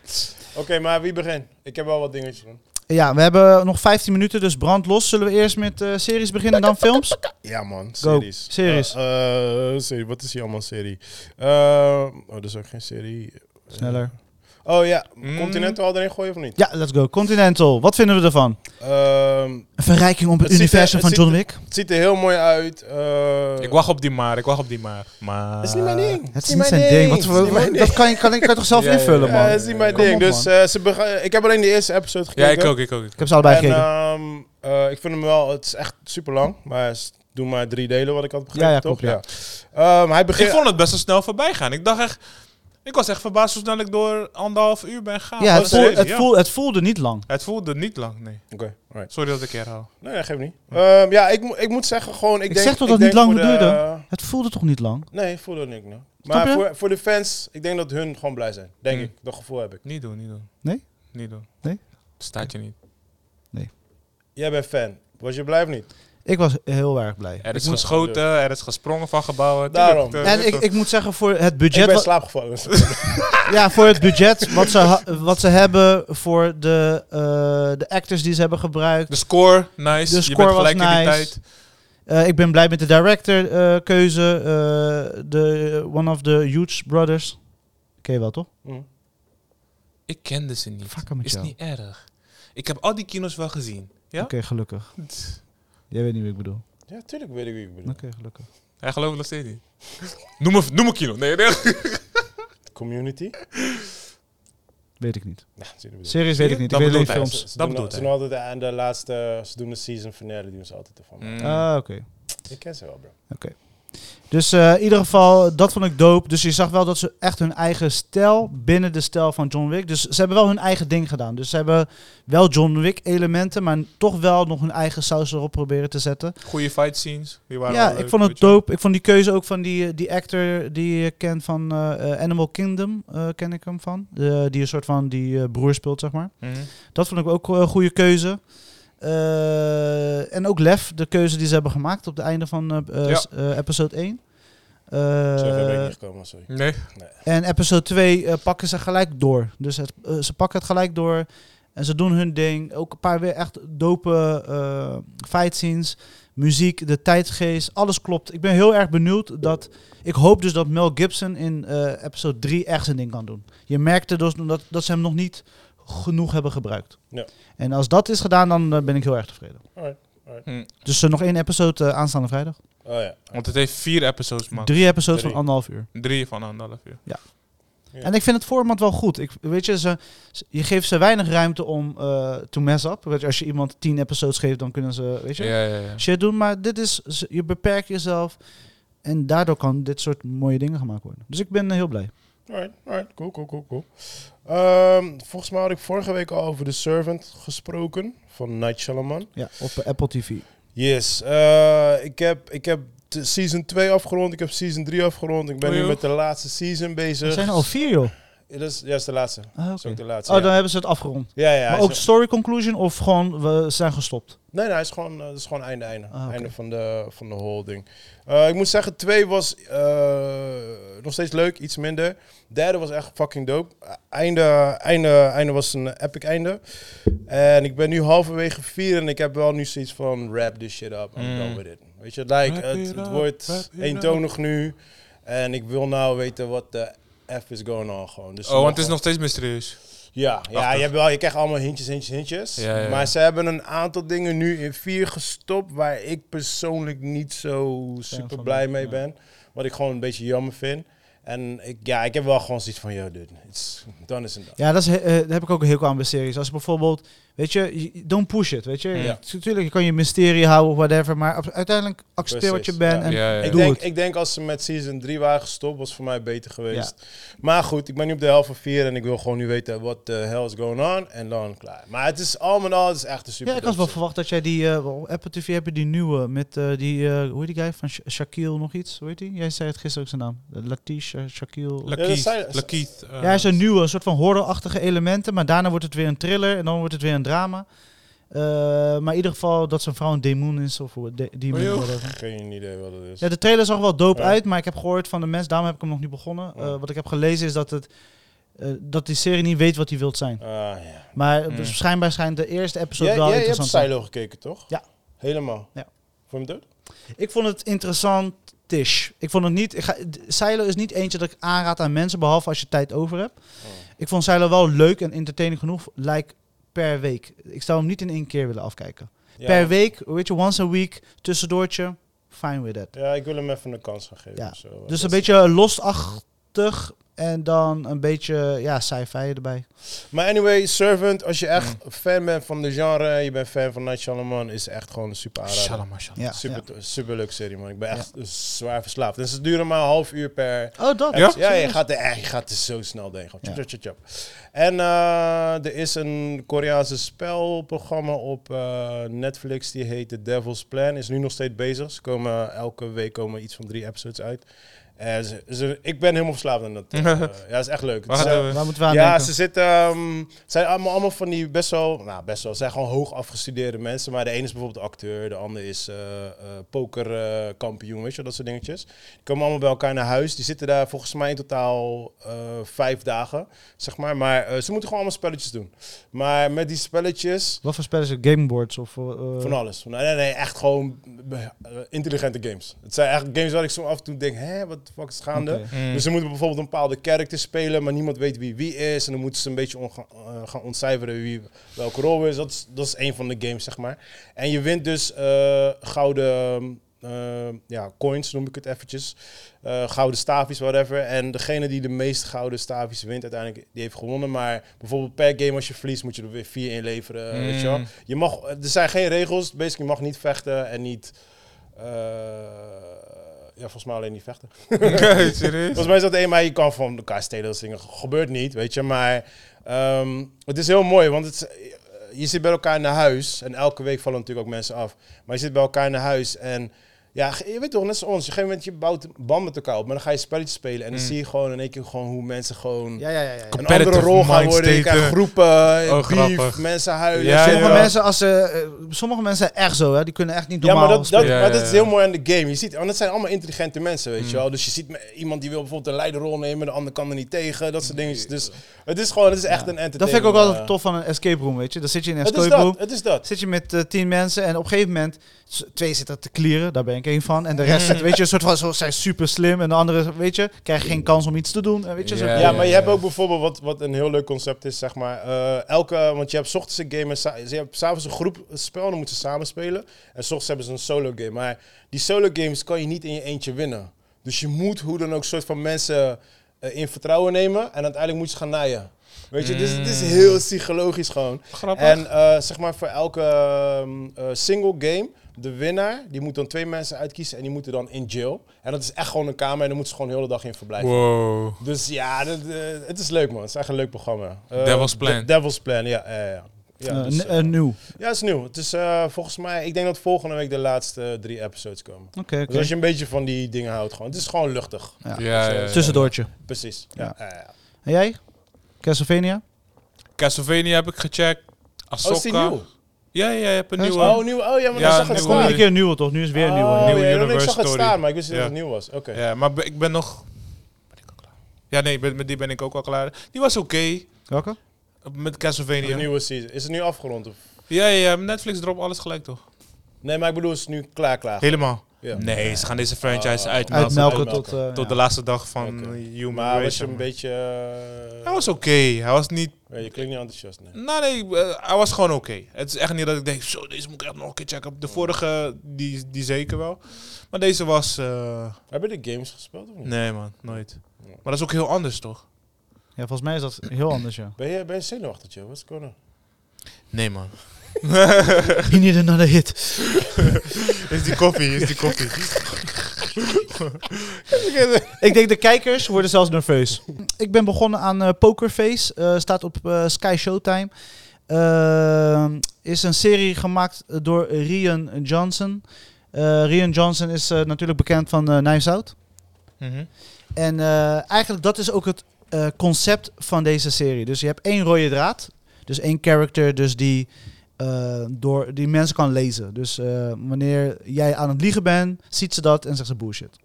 Oké, maar wie begint? Ik heb wel wat dingetjes, man.
Ik Ja, we hebben nog 15 minuten, dus brand los. Zullen we eerst met eh, series beginnen, dan films?
Ja, man.
Go.
Series.
Series.
Eh, eh, serie. Wat is hier allemaal serie? Eh, oh, dat is ook geen serie.
Sneller.
Oh ja,
Mm.
Continental erin gooien of niet?
Ja, let's go. Continental, wat vinden we ervan?
Ehm,
Een verrijking op het,
Het ziet er-
universum
het
van
ziet
John
er-
Wick.
het ziet er heel mooi uit. Eh,
Ik wacht op die maar, ik wacht op die maar. maar...
Het is niet mijn ding.
Het is niet zijn ding. Wat,
Het is niet mijn
voor- dat kan je, kan, je- kan je toch zelf
Ja, ja,
invullen,
Ja,
man?
dat is niet mijn
Kom
ding.
op,
dus eh, ze bega- ik heb alleen de eerste episode
Ja,
gekeken.
ik ook, ik ook. ik
Ik
ook.
heb ze allebei
en,
gekeken.
ehm, eh, ik vind hem wel, het is echt super lang. Maar ze doen maar drie delen, wat ik had begrepen,
Ja, ja,
toch?
klopt, ja.
Ehm, hij begint...
Ik vond het best wel snel voorbij gaan. Ik dacht echt... Ik was echt verbaasd hoe snel ik door anderhalf uur ben gegaan.
ja,
Oh,
het, voel-
serieus,
het,
ja.
voel- het voelde niet lang.
Het voelde niet lang, nee.
Oké, alright.
Sorry dat ik hier hou.
Nee, dat geeft niet. Ehm, ja, ik, mo- ik moet zeggen gewoon... Ik,
Ik
denk,
zeg toch
ik
dat het
denk
niet
voor
lang
de-
Het voelde toch niet lang?
Nee, voelde ik niet. nee.
Snap
Maar
je?
voor, voor de fans, ik denk dat hun gewoon blij zijn. Denk
Hmm.
ik, dat gevoel heb ik.
Niet doen, niet doen.
Nee?
Niet doen.
Nee?
Staat je niet.
Jij bent fan. Was je blij of niet?
Ik was heel erg blij.
Er is
moet-
geschoten, er is gesprongen van gebouwen.
Daarom.
Tuurlijk, eh,
En ik, ik moet zeggen, voor het
ik
budget,
ben
wa- (laughs)
slaapgevallen.
ja, voor het budget wat, ze ha- wat ze hebben, voor de, eh, de actors die ze hebben gebruikt.
De score, nice.
De
je
score
bent
was
gelijk in die
nice.
tijd.
Eh, ik ben blij met de director-keuze. eh, de one of the Huge Brothers. Ken je wel, toch?
Hmm.
Ik kende ze niet.
Fuck hem met
is
jou.
niet erg. Ik heb al die kino's wel gezien. Ja?
Oké, gelukkig. Jij weet niet wie ik bedoel.
ja, tuurlijk weet ik wie ik bedoel.
Oké, gelukkig.
Hij gelooft het nog steeds niet. (laughs) noem, een, noem een kino. Nee, nee.
Community?
Weet ik niet.
Ja, zie je wat ik bedoel.
Series weet ik niet. Ik
Dat
weet alleen
bedoelt hij.
Ze- ze
films.
doen
Dat
al-
bedoelt
Ze
hij.
doen altijd aan de laatste... Ze doen de season finale, doen ze altijd ervan.
Mm.
Ah, oké.
Ik ken ze wel, bro.
Dus eh, in ieder geval, dat vond ik dope. Dus je zag wel dat ze echt hun eigen stijl binnen de stijl van John Wick. Dus ze hebben wel hun eigen ding gedaan. Dus ze hebben wel John Wick elementen, maar toch wel nog hun eigen saus erop proberen te zetten.
Goede fight scenes. Die waren
ja,
wel leuk,
ik vond het
weet je wel.
dope. Ik vond die keuze ook van die, eh, die actor die je kent van eh, eh, Animal Kingdom, eh, ken ik hem van. Eh, die een soort van die eh, broer speelt, zeg maar.
Mhm.
Dat vond ik ook eh, een goede keuze. Eh, en ook Lef, de keuze die ze hebben gemaakt op het einde van eh, eh,
Ja.
s- eh, episode 1. Eh,
Zo ben ik niet gekomen, sorry.
Nee.
en episode 2 eh, pakken ze gelijk door. Dus het, eh, ze pakken het gelijk door. En ze doen hun ding. Ook een paar weer echt dope eh fight scenes. Muziek, de tijdgeest, alles klopt. Ik ben heel erg benieuwd dat... Ik hoop dus dat Mel Gibson in eh, episode 3 echt zijn ding kan doen. Je merkte dus dat, dat ze hem nog niet genoeg hebben gebruikt.
Ja.
En als dat is gedaan, dan eh, ben ik heel erg tevreden.
Alright, alright.
Hm.
Dus eh, nog één episode eh, aanstaande vrijdag.
Oh ja.
Want het heeft vier episodes, man.
Drie episodes
Drie.
van anderhalf uur.
Drie van anderhalf uur.
Ja.
En ik vind het format wel goed. Ik, weet je, ze, ze- je geeft ze weinig ruimte om eh to mess up. Weet je, als je iemand tien episodes geeft, dan kunnen ze weet je,
Ja, ja, ja.
shit doen. Maar dit is, ze- je beperkt jezelf. En daardoor kan dit soort mooie dingen gemaakt worden. Dus ik ben eh, heel blij.
Alright, alright. Cool, cool, cool, cool. Ehm, volgens mij had ik vorige week al over The Servant gesproken. Van Night Shyamalan.
Ja, op eh, Apple TV.
Yes. eh, ik, heb, ik heb de season 2 afgerond. Ik heb season 3 afgerond. Ik ben
Oh,
nu
joh.
met de laatste season bezig.
Er zijn er al vier, joh.
Ja, dat is, ja, dat is de laatste. Dat
Ah,
is
oké.
ook de laatste.
Oh,
ja.
dan hebben ze het afgerond.
Ja, ja, hij
Maar
is
ook
nog-
story conclusion of gewoon we zijn gestopt?
nee, nee, hij is gewoon, eh, dat is gewoon einde, einde.
Ah, oké.
Einde van de, van de holding. Eh, ik moet zeggen, twee was eh, nog steeds leuk, iets minder. Derde was echt fucking dope. Eh, Einde, einde, einde was een epic einde. En ik ben nu halverwege vier en ik heb wel nu zoiets van wrap this shit up. I'm
Mm.
done with it. Weet je, like,
Wrap
het,
it
het
up,
wordt
wrap it
eentonig nu. En ik wil nou weten wat de F is going on gewoon. Dus
Oh, want het is
nog-
nog steeds mysterieus.
Ja, ja
Prachtig.
je, hebt wel, je krijgt allemaal hintjes, hintjes, hintjes.
Ja, ja, ja.
Maar ze hebben een aantal dingen nu in vier gestopt waar ik persoonlijk niet zo super
van
blij
ben,
mee
ja.
ben. Wat ik gewoon een beetje jammer vind. En ik, ja, ik heb wel gewoon zoiets van, yo dude, it's, dan is het
Ja, dat, is, he- eh, dat heb ik ook heel aan bij series. Als bijvoorbeeld, weet je, je- don't push it, weet je.
Ja.
Natuurlijk, je kan je mysterie houden of whatever, maar ab- uiteindelijk accepteer wat je
Precies,
bent.
ja.
En
Ja, ja, ja.
Ik
doe
denk,
het.
ik denk als ze met season 3 waren gestopt, was voor mij beter geweest. Maar goed, ik ben nu op de helft van 4 en ik wil gewoon nu weten wat de hell is going on. En dan klaar. Maar het is allemaal al, het is echt een super
Ja, ik had wel verwacht dat jij die, eh, wel, Apple TV heb je die nieuwe met eh, die, eh, hoe heet die guy, van Sha- Shaquille nog iets, hoe heet die? Jij zei het gisteren ook zijn naam. Latisha, Shaquille.
dat
Lakeith.
zei-
Lakeith, eh,
ja, hij is een nieuwe, een soort van horrorachtige elementen, maar daarna wordt het weer een thriller en dan wordt het weer een drama. Eh, maar in ieder geval dat zijn vrouw een demon is of hoe- de, demon,
Oh, joh.
whatever.
Geen idee wat het is.
Ja, de trailer zag er wel dope
Ja.
uit, maar ik heb gehoord van de mensen, daarom heb ik hem nog niet begonnen.
Ja.
Eh, wat ik heb gelezen is dat het eh, dat die serie niet weet wat hij wilt zijn.
Ah, ja.
Maar
Mm.
dus schijnbaar schijnt de eerste episode
Jij,
wel
jij hebt
interessant te zijn.
Silo gekeken, toch?
Ja.
Helemaal?
Ja.
Vond je hem dood?
Ik vond het interessant. Ik vond het niet. Ik ga, d- Silo is niet eentje dat ik aanraad aan mensen, behalve als je tijd over hebt.
Oh.
Ik vond Silo wel leuk en entertaining genoeg, like per week. Ik zou hem niet in één keer willen afkijken.
Ja.
Per week, weet je, once a week, tussendoortje, fine with it.
Ja, ik wil hem even een kans gaan geven.
Ja.
of zo. eh,
Dus
Dat-
een beetje losachtig en dan een beetje, ja, sci-fi erbij.
Maar anyway, Servant, als je
Mm.
echt fan bent van de genre, je bent fan van Night Shyamalan, is echt gewoon een super aanrader.
Shalom, shalom.
Ja,
Super,
ja.
super leuk serie, man. Ik ben echt zwaar verslaafd. Dus het duurde maar een half uur per...
Oh, dat.
Ja, ja je,
serieus?
gaat er, echt- je gaat er zo snel doorheen. Gewoon tjap,
Ja.
tjap, tjap, tjap. En eh, er is een Koreaanse spelprogramma op eh, Netflix. Die heet The Devil's Plan. Is nu nog steeds bezig. Ze komen, elke week komen iets van drie episodes uit. En ze, ze- ik ben helemaal verslaafd aan dat. eh, ja, is echt leuk. Het
Wacht
is, eh,
even.
Waar moeten we aan
ja,
denken?
ze zitten. ehm, het zijn allemaal, allemaal van die best wel. Nou, best wel. het zijn gewoon hoog afgestudeerde mensen. Maar de ene is bijvoorbeeld acteur, de ander is eh, pokerkampioen, weet je, wel, dat soort dingetjes. Die komen allemaal bij elkaar naar huis. Die zitten daar volgens mij in totaal eh, vijf dagen, zeg maar. Maar eh, ze moeten gewoon allemaal spelletjes doen. Maar met die spelletjes.
Wat voor spellen is het? Gameboards of... eh,
Van alles. Nee, nee, nee, echt gewoon eh, intelligente games. Het zijn echt games waar ik zo af en toe denk, hè, wat de fuck is gaande?
Oké.
Mm. (laughs)
Dus ze moeten bijvoorbeeld een bepaalde character spelen, maar niemand weet wie wie is. En dan moeten ze een beetje onga- eh, gaan ontcijferen wie welke rol is. Dat, is. dat is een van de games, zeg maar. En je wint dus eh, gouden eh, ja, coins, noem ik het eventjes. Eh, gouden staafjes, whatever. En degene die de meeste gouden staafjes wint, uiteindelijk, die heeft gewonnen. Maar bijvoorbeeld per game als je verliest, moet je er weer vier inleveren. eh,
Mm.
Weet je, wel. je mag, er zijn geen regels. Basically, je mag niet vechten en niet... eh, ja, volgens mij alleen niet vechten.
Oké, serieus?
Volgens mij is dat één, maar je kan van elkaar stelen, dat soort dingen. Gebeurt niet, weet je. Maar ehm, het is heel mooi, want het, is- eh, je zit bij elkaar naar huis. En elke week vallen natuurlijk ook mensen af. Maar je zit bij elkaar naar huis en... Ja, ge- je weet toch, net zoals ons. Op een gegeven moment je bouwt een band met elkaar op. Maar dan ga je spelletjes spelen. En dan
Mm.
zie je gewoon in één keer gewoon hoe mensen gewoon...
Ja, ja, ja. ja.
Een andere
competitive
rol gaan worden. Je
mindstate,
krijgt
eh.
groepen,
Oh,
beef,
grappig.
mensen huilen.
Ja,
sommige,
ja.
Mensen als, ze, eh, sommige mensen zijn echt zo, hè. Die kunnen echt niet
Ja,
normaal
maar dat, dat,
spelen.
spelen.
maar dat
Ja,
is
ja, Mm. ja.
heel mooi aan de game. Je ziet, want het zijn allemaal intelligente mensen, weet je wel. Dus je ziet me- iemand die wil bijvoorbeeld een leiderrol nemen, de ander kan er niet tegen, dat soort dingen. Dus het is gewoon, het is echt een entertainment.
Dat vind ik ook altijd
eh,
tof van een escape room, weet je. Dan zit je in een
Het is
escape room,
dat, het is dat.
zit je met eh, tien mensen en op een gegeven moment, s- twee zitten te klieren, daar ben ik één van. En de rest,
Mm.
zit, weet je, een soort van, zo zijn super slim en de andere, weet je, krijgen geen kans om iets te doen. eh, Weet je, zo.
Ja,
Ja, maar je
ja.
hebt ook bijvoorbeeld wat, wat een heel leuk concept is, zeg maar. eh, elke, want je hebt 's ochtends een game en sa- je hebt s'avonds een groep spel, dan moeten ze samen spelen. En 's ochtends hebben ze een solo game. Maar die solo games kan je niet in je eentje winnen. Dus je moet hoe dan ook soort van mensen eh, in vertrouwen nemen en uiteindelijk moet je ze gaan naaien. Weet je, dus het is heel psychologisch gewoon.
Grappig.
En eh, zeg maar voor elke ehm, eh, single game, de winnaar, die moet dan twee mensen uitkiezen en die moeten dan in jail. En dat is echt gewoon een kamer en daar moeten ze gewoon de hele dag in verblijven.
Wow.
Dus ja, dat, eh, het is leuk man. Het is echt een leuk programma. Eh,
Devil's Plan.
De- Devil's Plan, ja. ja, ja. Ja,
Eh,
dus,
n-
eh,
eh, nieuw.
ja, het is nieuw. Het is eh, volgens mij, ik denk dat volgende week de laatste drie episodes komen.
Oké, oké.
Dus als je een beetje van die dingen houdt gewoon. Het is gewoon luchtig.
Ja.
Ja, ja, ja.
Tussendoortje.
Precies. Ja. ja, Oh, ja.
En jij? Castlevania?
Castlevania heb ik gecheckt.
Oh, is die
Ahsoka.
nieuw?
ja, ja, je hebt
Ja,
een nieuwe.
Oh, nieuw. Oh ja, maar
Ja,
dan zag het
nieuw.
Kom
staan.
een keer nieuw toch? Nu is het weer nieuw.
Oh,
hè?
Nieuwe
ja, ik
universe
zag het
story.
staan, maar ik wist niet
Ja.
dat het nieuw was. Oké.
Ja, maar be- ik ben nog... Ben ik al klaar? Ja, nee, met, met die ben ik ook al klaar. Die was oké.
Welke?
Met
De
Castlevania.
nieuwe season. Is het nu afgerond? Of?
Ja, ja, ja, Netflix dropt alles gelijk, toch?
Nee, maar ik bedoel, is het nu klaar klaar?
Helemaal.
Ja.
Nee, ze gaan deze franchise
Oh.
uitmelken.
Uitmelken
Melken.
tot... eh,
Tot
ja.
de laatste dag van
Oké.
Human
Maar was je
Race.
een beetje... eh,
Hij was oké. Hij was niet...
ja, je klinkt niet enthousiast, nee.
Nou nee, eh, hij was gewoon oké. Het is echt niet dat ik denk, zo, deze moet ik echt nog een keer checken. De vorige, die, die zeker wel. Maar deze was... eh,
Heb je de games gespeeld of niet?
nee man, nooit. Maar dat is ook heel anders, toch?
Ja, volgens mij is dat heel anders, (laughs) ja.
Ben je, ben je zenuwachtig, joh? Wat is going on?
Nee man.
You need another hit.
Is die koffie, (laughs) is die koffie.
(laughs) Ik denk de kijkers worden zelfs nerveus. Ik ben begonnen aan eh, Pokerface. eh, staat op eh, Sky Showtime. Eh, is een serie gemaakt door Rian Johnson. Eh, Rian Johnson is eh, natuurlijk bekend van eh Knives Out.
Mhm.
En eh, eigenlijk dat is ook het eh, concept van deze serie. Dus je hebt één rode draad. Dus één character dus die, eh, door, die mensen kan lezen. Dus eh, wanneer jij aan het liegen bent, ziet ze dat en zegt ze bullshit.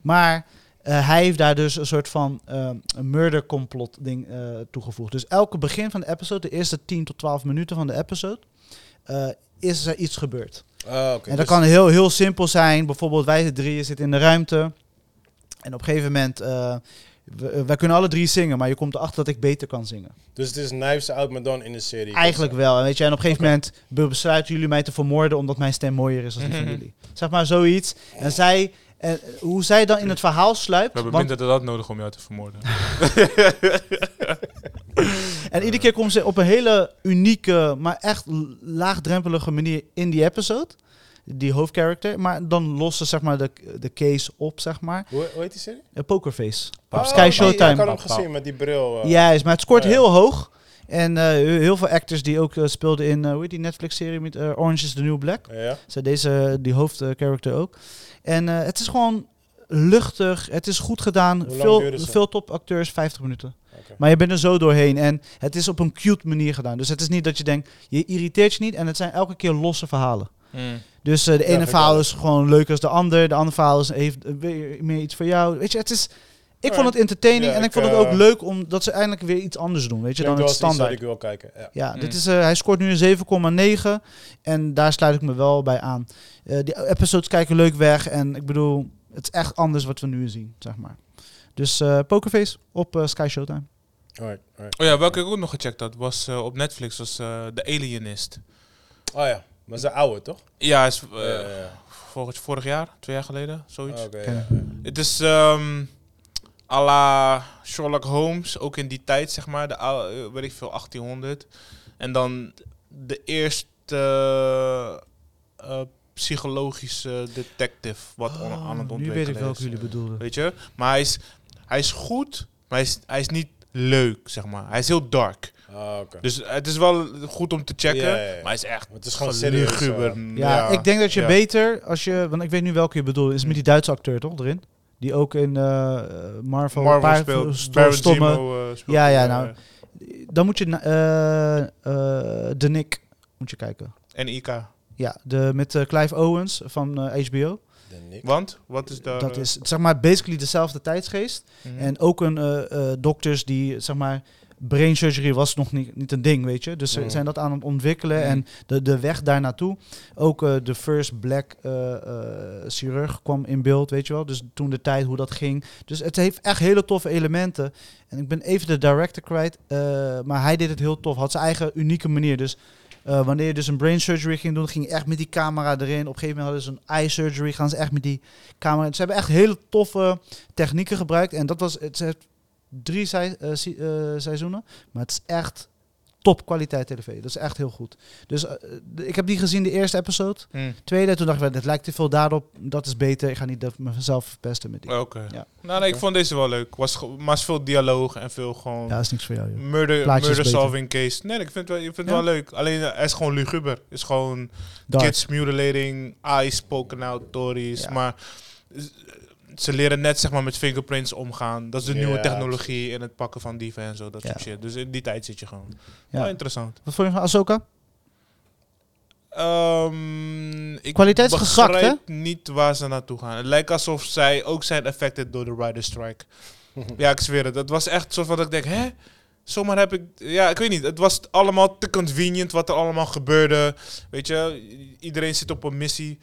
Maar eh, Eh, hij heeft daar dus een soort van eh, een murder complot ding eh, toegevoegd. Dus elke begin van de episode, de eerste 10 tot 12 minuten van de episode, eh, is er iets gebeurd.
Ah, oké.
en dat
Dus-
kan heel, heel simpel zijn. Bijvoorbeeld wij drieën zitten in de ruimte. En op een gegeven moment... eh, we- wij kunnen alle drie zingen, maar je komt erachter dat ik beter kan zingen.
Dus het is Knives Out, maar dan in de serie. Dus-
Eigenlijk wel. En, weet je, en op een gegeven moment be- besluiten jullie mij te vermoorden omdat mijn stem mooier is dan die van jullie. Zeg maar zoiets. En zij, en hoe zij dan in het verhaal sluipt.
We hebben
want-
minder dan dat nodig om jou te (laughs) vermoorden.
en iedere keer komt ze op een hele unieke, maar echt l- laagdrempelige manier in die episode. Die hoofdcharacter. Maar dan lost ze zeg maar de, de case op, zeg maar.
Hoe, hoe heet die serie?
Eh, Pokerface.
Oh,
Op Sky
die- Ik had
Showtime.
hem gezien met die bril. eh.
Juist, maar het scoort
Oh, ja.
heel hoog. En eh, he- heel veel actors die ook eh, speelden in, eh, hoe heet die Netflix-serie met eh, Orange is the New Black.
ja.
Zij deze, eh, die hoofdcharacter ook. En eh, het is gewoon luchtig, het is goed gedaan.
Hoe lang
Veel,
duurde ze?
veel topacteurs, 50 minuten.
Oké.
Maar je bent er zo doorheen en het is op een cute manier gedaan. Dus het is niet dat je denkt, je irriteert je niet en het zijn elke keer losse verhalen. Dus eh, de
Ja, vind
ene
ik
verhaal
wel.
is gewoon leuk als de ander, de andere verhaal is, heeft eh, weer meer iets voor jou. Weet je, het is... Ik vond het entertaining
Ja,
en ik,
ik,
vond het
eh,
ook leuk omdat ze eindelijk weer iets anders doen, weet je,
Ik
dan
denk
het
wel eens iets dat
standaard.
Ik wil kijken. Ja.
Ja, dit
Mm.
is, eh, hij scoort nu een 7,9 en daar sluit ik me wel bij aan. Eh, die episodes kijken leuk weg en ik bedoel, het is echt anders wat we nu zien, zeg maar. Dus eh, Pokerface op eh, Sky Showtime.
Alright, alright.
Oh ja, welke ik ook nog gecheckt had, was eh, op Netflix, was eh The Alienist.
Oh ja, maar ze oude toch?
Ja, is, eh,
Ja, ja, ja.
volgens vorig jaar, twee jaar geleden, zoiets.
Ah, Oké.
Ken
ja,
ik.
ja.
Het is ehm à la Sherlock Holmes, ook in die tijd zeg maar, de, ou- eh, weet ik veel, 1800. En dan de eerste eh, eh, psychologische detective wat on- aan het
Oh, Ah, nu
ontwikkelen
weet ik welke
is.
jullie bedoelden.
Weet je? Maar hij is, hij is goed, maar hij is, hij is niet leuk, zeg maar. Hij is heel dark.
Ah, oké.
Dus het is wel goed om te checken,
Ja, ja, ja.
maar hij is echt...
Het is gewoon serieus, eh,
geluguber.
Ja, ik denk dat je
Ja.
beter als je, want ik weet nu welke je bedoelt, is met die Duitse acteur toch erin? Die ook in eh, Marvel, een
Marvel
paar
speelt,
sto-
Baron
stomme-
Zemo, eh, speelt,
Ja, ja,
eh,
nou. Dan moet je na- eh, eh, de Nick moet je kijken.
En Ika.
Ja, de, met eh, Clive Owens van eh, HBO.
De Nick.
Want? Wat is daar...
Dat
eh,
is zeg maar basically dezelfde tijdsgeest.
mhm.
En ook een eh, eh, dokters die zeg maar brain surgery was nog niet, niet een ding, weet je. Dus ze
Hm.
Mm.
zijn dat aan het ontwikkelen
Mm.
en de, de weg daar naartoe. Ook eh, de first black eh, eh, chirurg kwam in beeld, weet je wel. Dus toen de tijd hoe dat ging. Dus het heeft echt hele toffe elementen. En ik ben even de director kwijt, eh, maar hij deed het heel tof. Had zijn eigen unieke manier. Dus eh, wanneer je dus een brain surgery ging doen, ging je echt met die camera erin. Op een gegeven moment hadden ze een eye surgery, gaan ze echt met die camera. Ze hebben echt hele toffe technieken gebruikt. En dat was, het heeft drie sei- eh, se- eh, seizoenen, maar het is echt top kwaliteit tv. Dat is echt heel goed. Dus eh, de- ik heb die gezien, de eerste episode.
Mhm.
Tweede, toen dacht ik, wel, dit lijkt te veel daarop. Dat is beter. Ik ga niet dat mezelf verpesten met die.
Oké.
Ja.
Nou, nee, ik vond deze wel leuk. Was, ge- maar is veel dialoog en veel gewoon...
Ja, dat is niks voor jou, joh.
Murder,
Plaatjes
murder
beter.
solving case. Nee, ik vind het wel, ik vind het
Ja.
wel leuk. Alleen eh, hij is gewoon luguber. Is gewoon
Dark.
kids mutilating, eyes spoken out, Tories.
Ja.
Maar eh, ze leren net zeg maar met fingerprints omgaan. Dat is de
Ja,
nieuwe technologie in het pakken van dieven en zo. Dat
Ja.
soort shit. Dus in die tijd zit je gewoon.
Ja.
Wel interessant.
Wat vond je van Ahsoka?
Ehm ik
Kwaliteit is gezakt, hè?
begrijp niet waar ze naartoe gaan. Het lijkt alsof zij ook zijn affected door de rider strike. ja, ik zweer het. Dat was echt soort van dat ik denk, hè? Zomaar heb ik... Ja, ik weet niet. Het was allemaal te convenient wat er allemaal gebeurde. Weet je, i- iedereen zit op een missie.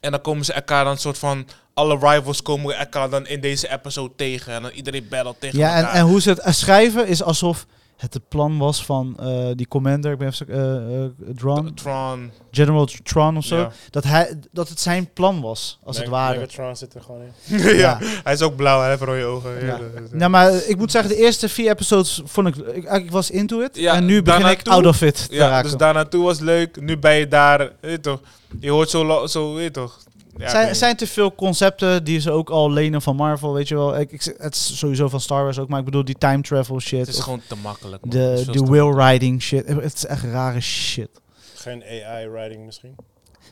En dan komen ze elkaar dan soort van... Alle rivals komen elkaar dan in deze episode tegen. En dan iedereen battle tegen
Ja, en,
elkaar.
en hoe ze het eh, schrijven is alsof het het plan was van eh, die commander, ik ben even, eh, eh, Dron,
Tron.
General Tron of zo,
Ja.
dat, hij, dat het zijn plan was, als het
Meg-
ware.
Megatron zit er gewoon in.
(laughs) ja.
Ja.
hij is ook blauw. Hij heeft rode ogen.
Ja.
Ja, dat is-
Nou, maar ik moet zeggen, de eerste vier episodes vond ik, ik, ik was into it,
Ja,
en nu begin
daarna
ik
toe-
out of it te
Ja,
raken.
dus daar naartoe was leuk. Nu ben je daar, weet je toch. Je hoort zo, lo- zo weet je toch. Ja, ik weet
zijn,
niet.
zijn te veel concepten die ze ook al lenen van Marvel, weet je wel. Ik, ik, het is sowieso van Star Wars ook, maar ik bedoel die time travel shit.
het is
of
gewoon te makkelijk. man. Het is
de,
veel
de
te-
will riding shit. Het is echt rare shit.
Geen AI-writing misschien.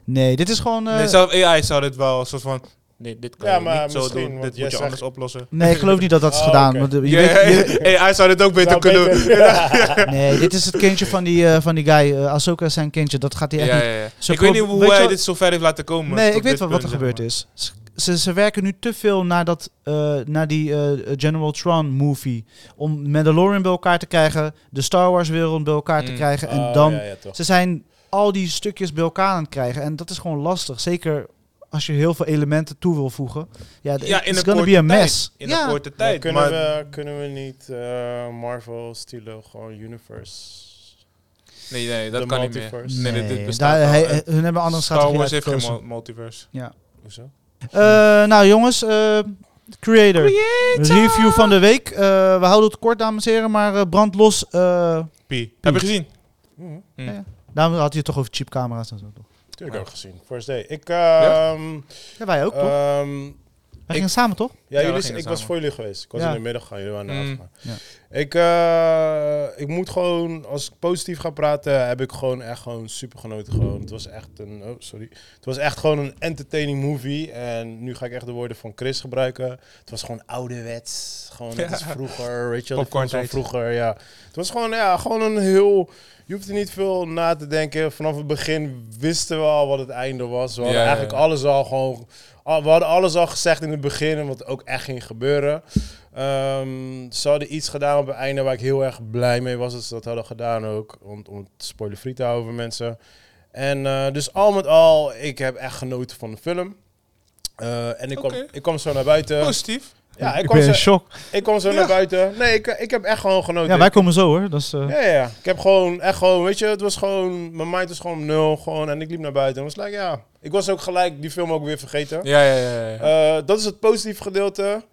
Nee, dit is gewoon... eh,
Nee, zelf AI zou dit wel een soort van. Nee, dit kan
Ja,
je
maar
niet zo
misschien,
doen.
want
Dit
jij
moet je
zegt-
anders oplossen.
Nee, ik geloof niet dat dat is
Oh,
gedaan.
oké.
want, eh, je
Ja,
weet- je-
(laughs) ja, AI zou dit ook beter
Zou
kunnen doen.
Nou, beter-
nee, dit is het kindje van die, eh, van die guy. eh Ahsoka is zijn kindje. Dat gaat hij
Ja,
echt
ja,
niet.
ja.
Ze
Ik weet
pro-
niet hoe eh,
weet je
hij
wel-
dit zo ver heeft laten komen.
Nee,
tot
ik weet
dit
wel wat er
punt,
gebeurd
zeg
is. ze, ze werken nu te veel naar, dat, eh, naar die eh, General Tron movie. Om Mandalorian bij elkaar te krijgen, de Star Wars wereld bij elkaar te
Mm.
krijgen. (laughs) En
Oh,
dan,
ja, ja, toch.
ze zijn al die stukjes bij elkaar aan het krijgen. En dat is gewoon lastig. Zeker als je heel veel elementen toe wil voegen. Ja,
Ja, in
it's
een
gonna
korte
be a
tijd.
mess.
In
ja.
een korte
Maar
tijd.
kunnen,
Maar
we, uh, kunnen we niet eh, Marvel stilo gewoon universe?
nee, nee,
de
dat kan niet meer.
multiverse?
Nee, dit- dit
Nee,
bestaat
daar,
al.
hij-
En
hun hebben andere
Star
strategie
Wars heeft geen
uitgekozen.
mul- multiverse.
Hoezo?
Eh, nou jongens, eh, creator. Review van de week. Eh, we houden het kort, dames en heren, maar eh, brand los. eh,
Pie. Heb je gezien?
Mhm.
daarom had je het toch over cheapcamera's en zo. Toch?
Tuurlijk
Ja.
ook gezien. First day. Ik, ehm,
Ja?
Ja, wij ook, toch?
ehm,
Wij gingen samen, toch?
Ja,
Ja, we
jullie,
gingen
ik was
samen.
voor jullie geweest. Ik was
Ja.
in de middag gaan, jullie waren in de
Mm.
avond.
Ja.
Ik, eh, ik moet gewoon, als ik positief ga praten, heb ik gewoon echt gewoon super genoten. Gewoon. Het was echt een, oh sorry. Het was echt gewoon een entertaining movie. En nu ga ik echt de woorden van Chris gebruiken. Het was gewoon ouderwets. Gewoon net als vroeger, weet je wel, de
Popcorn
films van
tijd.
vroeger, ja. Het was gewoon, ja, gewoon een heel... Je hoeft er niet veel na te denken. Vanaf het begin wisten we al wat het einde was. We hadden
Ja, ja, ja.
eigenlijk alles al gewoon al- we hadden alles al gezegd in het begin en wat ook echt ging gebeuren. Ehm, ze hadden iets gedaan op het einde waar ik heel erg blij mee was dat ze dat hadden gedaan ook. Om, om het spoilerfree te houden voor mensen. En eh, dus al met al, ik heb echt genoten van de film. Eh, en ik kwam,
Oké.
ik kwam zo naar buiten.
Positief.
ja, ik
ik
kwam, Oh,
ben in
zo,
shock.
ik kwam zo
Ja.
naar buiten. Nee, ik, ik heb echt gewoon genoten.
Ja, wij komen zo, hoor. Dat is, eh,
Ja, ja, ja. Ik heb gewoon, echt gewoon, weet je, het was gewoon, mijn mind was gewoon op nul. Gewoon, en ik liep naar buiten en was like, ja. Ik was ook gelijk die film ook weer vergeten.
Ja, ja, ja. ja.
Eh, dat is het positieve gedeelte.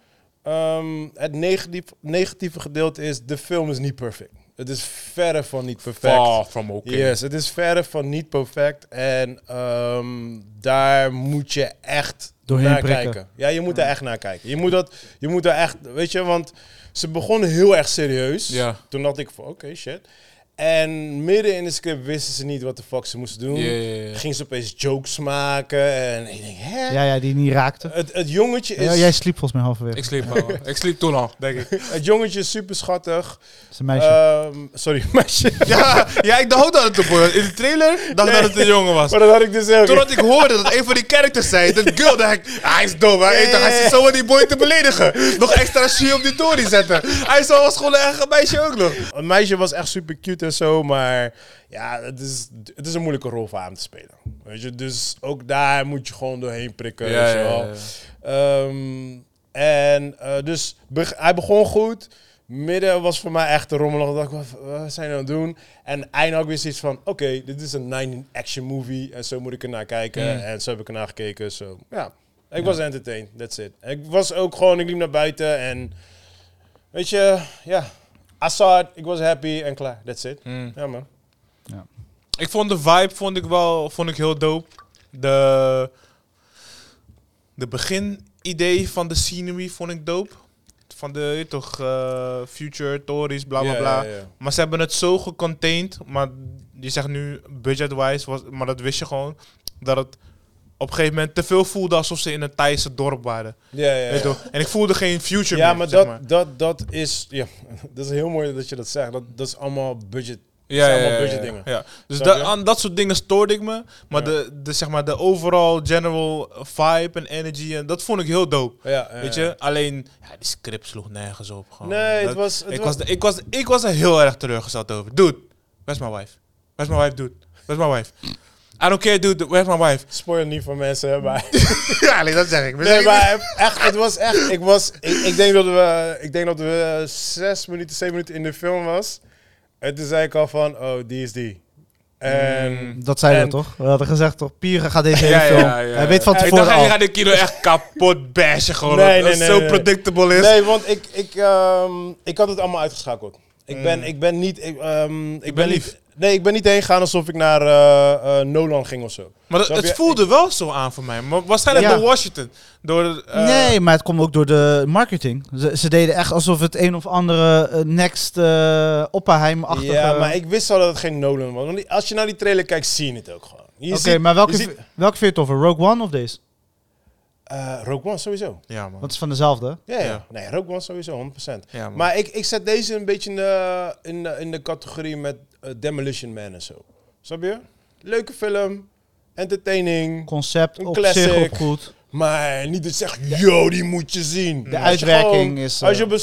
Ehm, het negatief, negatieve gedeelte is, de film is niet perfect. Het is verre van niet perfect.
Far from okay.
Yes, het is verre van niet perfect. En ehm, daar moet je echt
Doorheen
naar
prikken.
kijken. Ja, je moet daar echt naar kijken. Je moet, dat, je moet daar echt, weet je, want ze begonnen heel erg serieus.
Ja.
Toen dacht ik van, oké, shit. En midden in de script wisten ze niet wat de fuck ze moesten doen.
Ja, ja, ja.
Gingen ze opeens jokes maken. En ik denk, hè?
ja, ja, die niet raakte.
Het, het jongetje Eh, is...
Ja, jij sliep volgens mij halverwege.
Ik sliep
(laughs)
al. Ik sliep toen al, denk
(laughs)
ik.
Het jongetje is super schattig.
Dat is een meisje.
Ehm, sorry, (laughs) meisje.
(laughs) Ja, ja, ik dacht ook dat het een boy was. In de trailer dacht ik
Nee.
dat het een jongen was.
Maar dat had ik dus ook.
Totdat ik hoorde dat een van die characters zei, dat girl, dacht ik, hij is dom, hij, hij zit zo aan die boy te beledigen. Nog extra shit op die tory zetten. Hij is was gewoon een eigen meisje ook nog.
Een meisje was echt super cute en zo, maar ja, het is, het is een moeilijke rol voor hem te spelen. Weet je, dus ook daar moet je gewoon doorheen prikken. weet je wel. Ehm, en eh, dus beg- hij begon goed. Midden was voor mij echt te rommelig. Dacht ik, wat, wat zijn we aan het doen? En eindelijk ook weer zoiets van: oké, dit is een 9-action movie. En zo moet ik er naar kijken.
Mm.
En zo heb ik er naar gekeken. zo ja, ik was entertained. That's it. Ik was ook gewoon, ik liep naar buiten. En weet je, ja, I saw it. Ik was happy en klaar. That's it. Ja, man.
Hmm. Ik vond de vibe vond ik wel vond ik heel dope. De, de beginidee van de scenery vond ik dope. Van de, je weet toch, eh, future, tories, bla bla
Ja,
bla.
ja, ja.
Maar ze hebben het zo gecontained. Maar je zegt nu budget-wise, was- maar dat wist je gewoon. Dat het op een gegeven moment te veel voelde alsof ze in een Thaise dorp waren.
Ja, ja,
Weet je
ja.
toch? En ik voelde geen future
Ja,
meer,
maar
zeg
dat,
maar.
Dat, dat is. Ja, (laughs) dat is heel mooi dat je dat zegt. Dat, dat is allemaal budget.
Ja,
zijn
ja,
allemaal
ja,
budget
ja.
dingen.
Ja. Dus
Snap je?
da- aan dat soort dingen stoorde ik me. Maar
Ja.
de, de, zeg maar, de overall general vibe en energy, en dat vond ik heel dope.
Ja, ja,
Weet
ja.
je? Alleen, ja, die script sloeg nergens op. Gewoon.
Nee, het
Dat-
was. Het
ik,
was,
was, ik, was, ik was er heel erg teleurgesteld over. Dude, where's my wife? Where's my wife, dude? Where's my wife? I don't care, dude. Where's my wife?
spoil niet van mensen, hè, maar.
ja, alleen dat zeg ik.
Nee, maar echt, het was echt. Ik, was, ik, ik, denk dat we, ik denk dat we zes minuten, zeven minuten in de film was. En toen zei ik al van, oh, die is die. En.
Hmm.
Dat zeiden we
en-
toch? We hadden gezegd toch? Pieren gaat deze hele
Ja,
film.
ja, ja.
Hij weet van
Ik
tevoren
dacht, hij
al.
gaat de kilo echt kapot bashen gewoon.
Nee,
Nee,
nee, nee,
dat het zo
nee.
predictable is.
Nee, want ik, ik, ehm, ik had het allemaal uitgeschakeld. Ik ben, ik ben niet. Ik, ehm, ik ben,
ben
niet.
Hmm. lief.
Nee, ik ben niet heen gegaan alsof ik naar eh, eh, Nolan ging of zo.
Maar dat-
Snap je?
het voelde wel zo aan voor mij. Maar waarschijnlijk
Ja.
door Washington. Door, eh,
nee, maar het komt ook door de marketing. Ze, ze deden echt alsof het een of andere eh, next eh Oppenheim-achtige...
Ja, maar ik wist al dat het geen Nolan was. Want die- als je naar die trailer kijkt, zie je het ook gewoon. Je
Oké,
ziet-
maar welke,
je ziet-
welke vind je toffer? Rogue One of deze?
eh, Rogue One sowieso.
Ja, man.
Dat is van dezelfde.
Ja, ja.
Ja.
Nee, Rogue One sowieso, 100%.
Ja, man.
Maar ik, ik zet deze een beetje in de, in de, in de categorie met eh, Demolition Man en zo. Snap je? Leuke film, entertaining,
Concept
Een
op
classic.
zich op goed.
Maar niet dat je zegt, yo, die moet je zien. Als je
uitwerking
gewoon-
is, eh,
Als je op een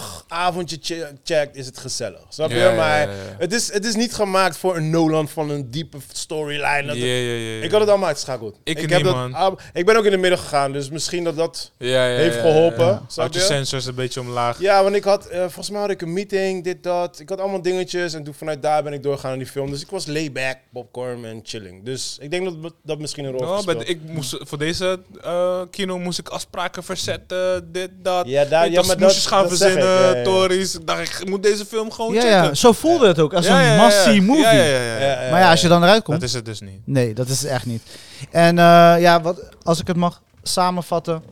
zondagavondje che- checkt, is het gezellig. Snap je?
Ja, ja,
maar
ja, ja.
Het, is, het is niet gemaakt voor een Nolan van een diepe storyline.
Ja,
dat-
ja, ja, ja.
Ik had het allemaal uitgeschakeld.
Ik
heb
niet,
dat,
man.
al- ik ben ook in de middag gegaan, dus misschien dat dat
Ja, ja, ja,
heeft
ja,
geholpen.
ja.
Snap
Houd je
je?
sensors een beetje omlaag.
Ja, want ik had, eh, volgens mij had ik een meeting, dit, dat. Ik had allemaal dingetjes en toen vanuit daar ben ik doorgegaan in die film. Dus ik was layback, popcorn en chilling. Dus ik denk dat dat misschien een rol heeft
Oh, maar
gespeeld.
ik moest, voor deze eh, kino moest ik afspraken verzetten, dit, dat.
Ja, daar-
Ik
ja,
dacht,
maar
smoesjes
dat-
gaan
dat zeg ik,
verzinnen,
ja, ja, ja.
tories. Ik dacht, ik moet deze film
Oh,
gewoon
Ja,
checken.
ja, zo voelde het ook. Als
Ja, ja,
een
ja,
must-see
ja.
movie.
Ja, ja, ja, ja.
Ja, ja,
Maar ja, als je dan eruit komt...
Dat is het dus niet.
Nee, dat is het echt niet. En eh, ja, wat, als ik het mag samenvatten.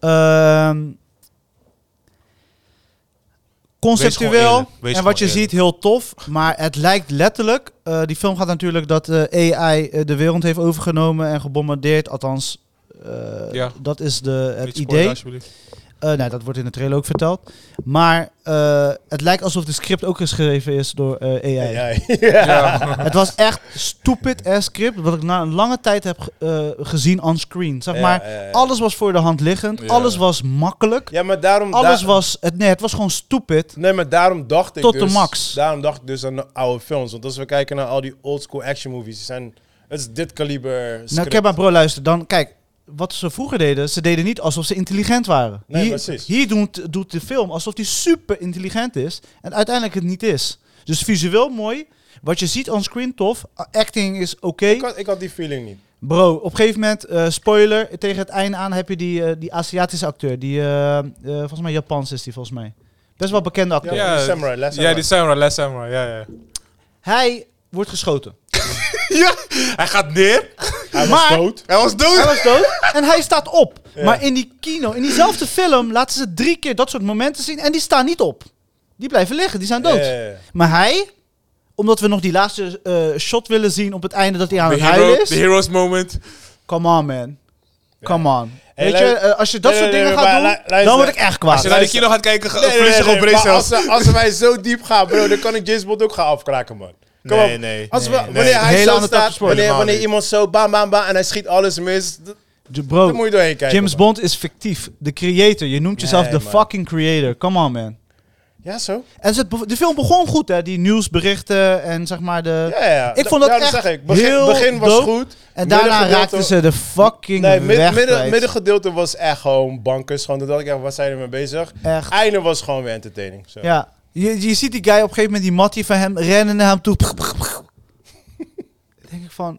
ehm,
Wees gewoon
conceptueel
eerlijk. Wees
en wat je
gewoon
ziet heel tof, maar het lijkt letterlijk. eh, die film gaat natuurlijk dat eh, AI eh, de wereld heeft overgenomen en gebombardeerd. Althans, eh,
Ja.
dat is de, het
Niet spoilen,
idee.
alsjeblieft.
Eh, nou, dat wordt in de trailer ook verteld. Maar eh, het lijkt alsof de script ook geschreven is door eh, AI.
Ja, ja, (laughs) ja.
Ja.
Het was echt stupid ass script, wat ik na een lange tijd heb ge- eh, gezien on screen. Zeg
Ja,
(laughs) maar,
ja, ja.
alles was voor de hand liggend,
Ja.
alles was makkelijk,
Ja, maar daarom...
alles
da-
was, het, nee, het was gewoon stupid.
Nee, maar daarom dacht ik
Tot de
dus...
max.
Daarom dacht ik dus aan de oude films. Want als we kijken naar al die oldschool action movies, die zijn... Het is dit kaliber
Nou,
script.
kijk maar bro, luister, dan kijk, wat ze vroeger deden, ze deden niet alsof ze intelligent waren.
Nee,
hier
precies.
hier doet, doet de film alsof die super intelligent is en uiteindelijk het niet is. Dus visueel mooi, wat je ziet on screen tof, acting is oké.
ik, had, ik had die feeling niet.
Bro, op een gegeven moment, eh, spoiler, tegen het einde aan heb je die, eh, die Aziatische acteur. Die, eh, eh, volgens mij Japans is die, volgens mij. Best wel bekende
Ja,
acteur.
Ja.
die Samurai, Last
ja, die Samurai, Last Samurai, ja, ja.
Hij wordt geschoten.
Hij gaat neer.
Hij was
maar-
dood.
Hij was dood.
Hij was dood
(laughs)
en hij staat op. Maar in die kino, in diezelfde film, laten ze drie keer dat soort momenten zien. En die staan niet op. Die blijven liggen, die zijn dood.
Ja, ja, ja.
Maar hij, omdat we nog die laatste eh, shot willen zien op het einde dat hij aan
De
het huilen
hero,
is.
the hero's moment.
Come on, man. Come on.
Hey,
Weet je,
luister-
eh, als je dat
Nee,
soort
nee,
dingen
nee, maar
gaat doen,
lu- luister.
dan word ik echt kwaad.
Als je naar de
luister.
kino gaat kijken, ge-
Nee, nee,
verlies je
nee,
gewoon brace
maar
zelfs.
als, we- als wij zo diep gaan, bro, dan kan ik James Bond ook gaan afkraken, man. Kom
Nee,
op.
nee,
Als we,
nee,
wanneer
nee.
hij
Hele
zo
andere tak van
staat,
sport.
wanneer,
Helemaal
wanneer
niet.
iemand zo bam, bam, bam en hij schiet alles mis, d-
J-
dan moet
Bro,
je doorheen kijken.
James
man.
Bond is fictief. De creator. Je noemt jezelf
Nee,
de
man.
fucking creator. Come on, man.
Ja, zo.
En ze- de film begon goed, hè? Die nieuwsberichten en zeg maar de...
Ja, ja.
Ik vond dat
Daarom
echt
zeg ik. Begin,
heel
begin was
dope.
goed.
En daarna
Middengedeelte-
raakten ze de fucking
Nee, mid-
weg
midden-
kwijt.
middengedeelte was echt gewoon bankers. Gewoon, toen dacht ik echt, waar zijn we mee bezig?
Echt.
Einde was gewoon weer entertaining. Zo.
Ja. Je, je ziet die guy op een gegeven moment, die mattie van hem, rennen naar hem toe. (laughs) Dan denk ik van,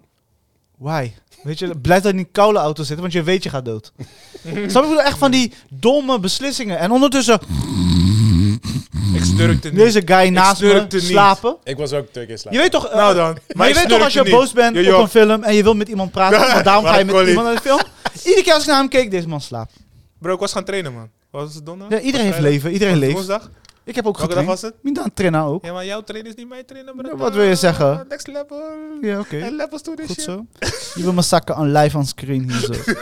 why? Weet je, blijf dan in die koude auto zitten, want je weet je gaat
(laughs)
dood. Snap je? Ik bedoel, echt van die domme beslissingen. En ondertussen,
Ik snurkte niet.
deze guy naast me
snurkte niet.
slapen.
Ik was ook twee keer
Je
slapen.
weet toch, eh,
Nou dan.
Maar je weet toch als je boos bent
Je
op
jokt.
een film en je wilt met iemand
(laughs)
praten, want daarom ga
Waarom
je met
kon
iemand naar de film. Iedere keer als ik naar hem keek, deze man slaapt.
Bro, ik was gaan trainen, man. Was het donderdag?
Ja, iedereen heeft leven, iedereen leeft.
Woensdag?
Ik heb ook
Welke dag
getraind.
was het?
Minder trainer ook.
Ja, maar jouw trainer is niet mijn trainer, bro.
Ja, wat wil je zeggen?
Next level.
Ja, oké.
En levels to this
Goed
shit.
zo. Je wil me zakken aan live on screen hier
(laughs)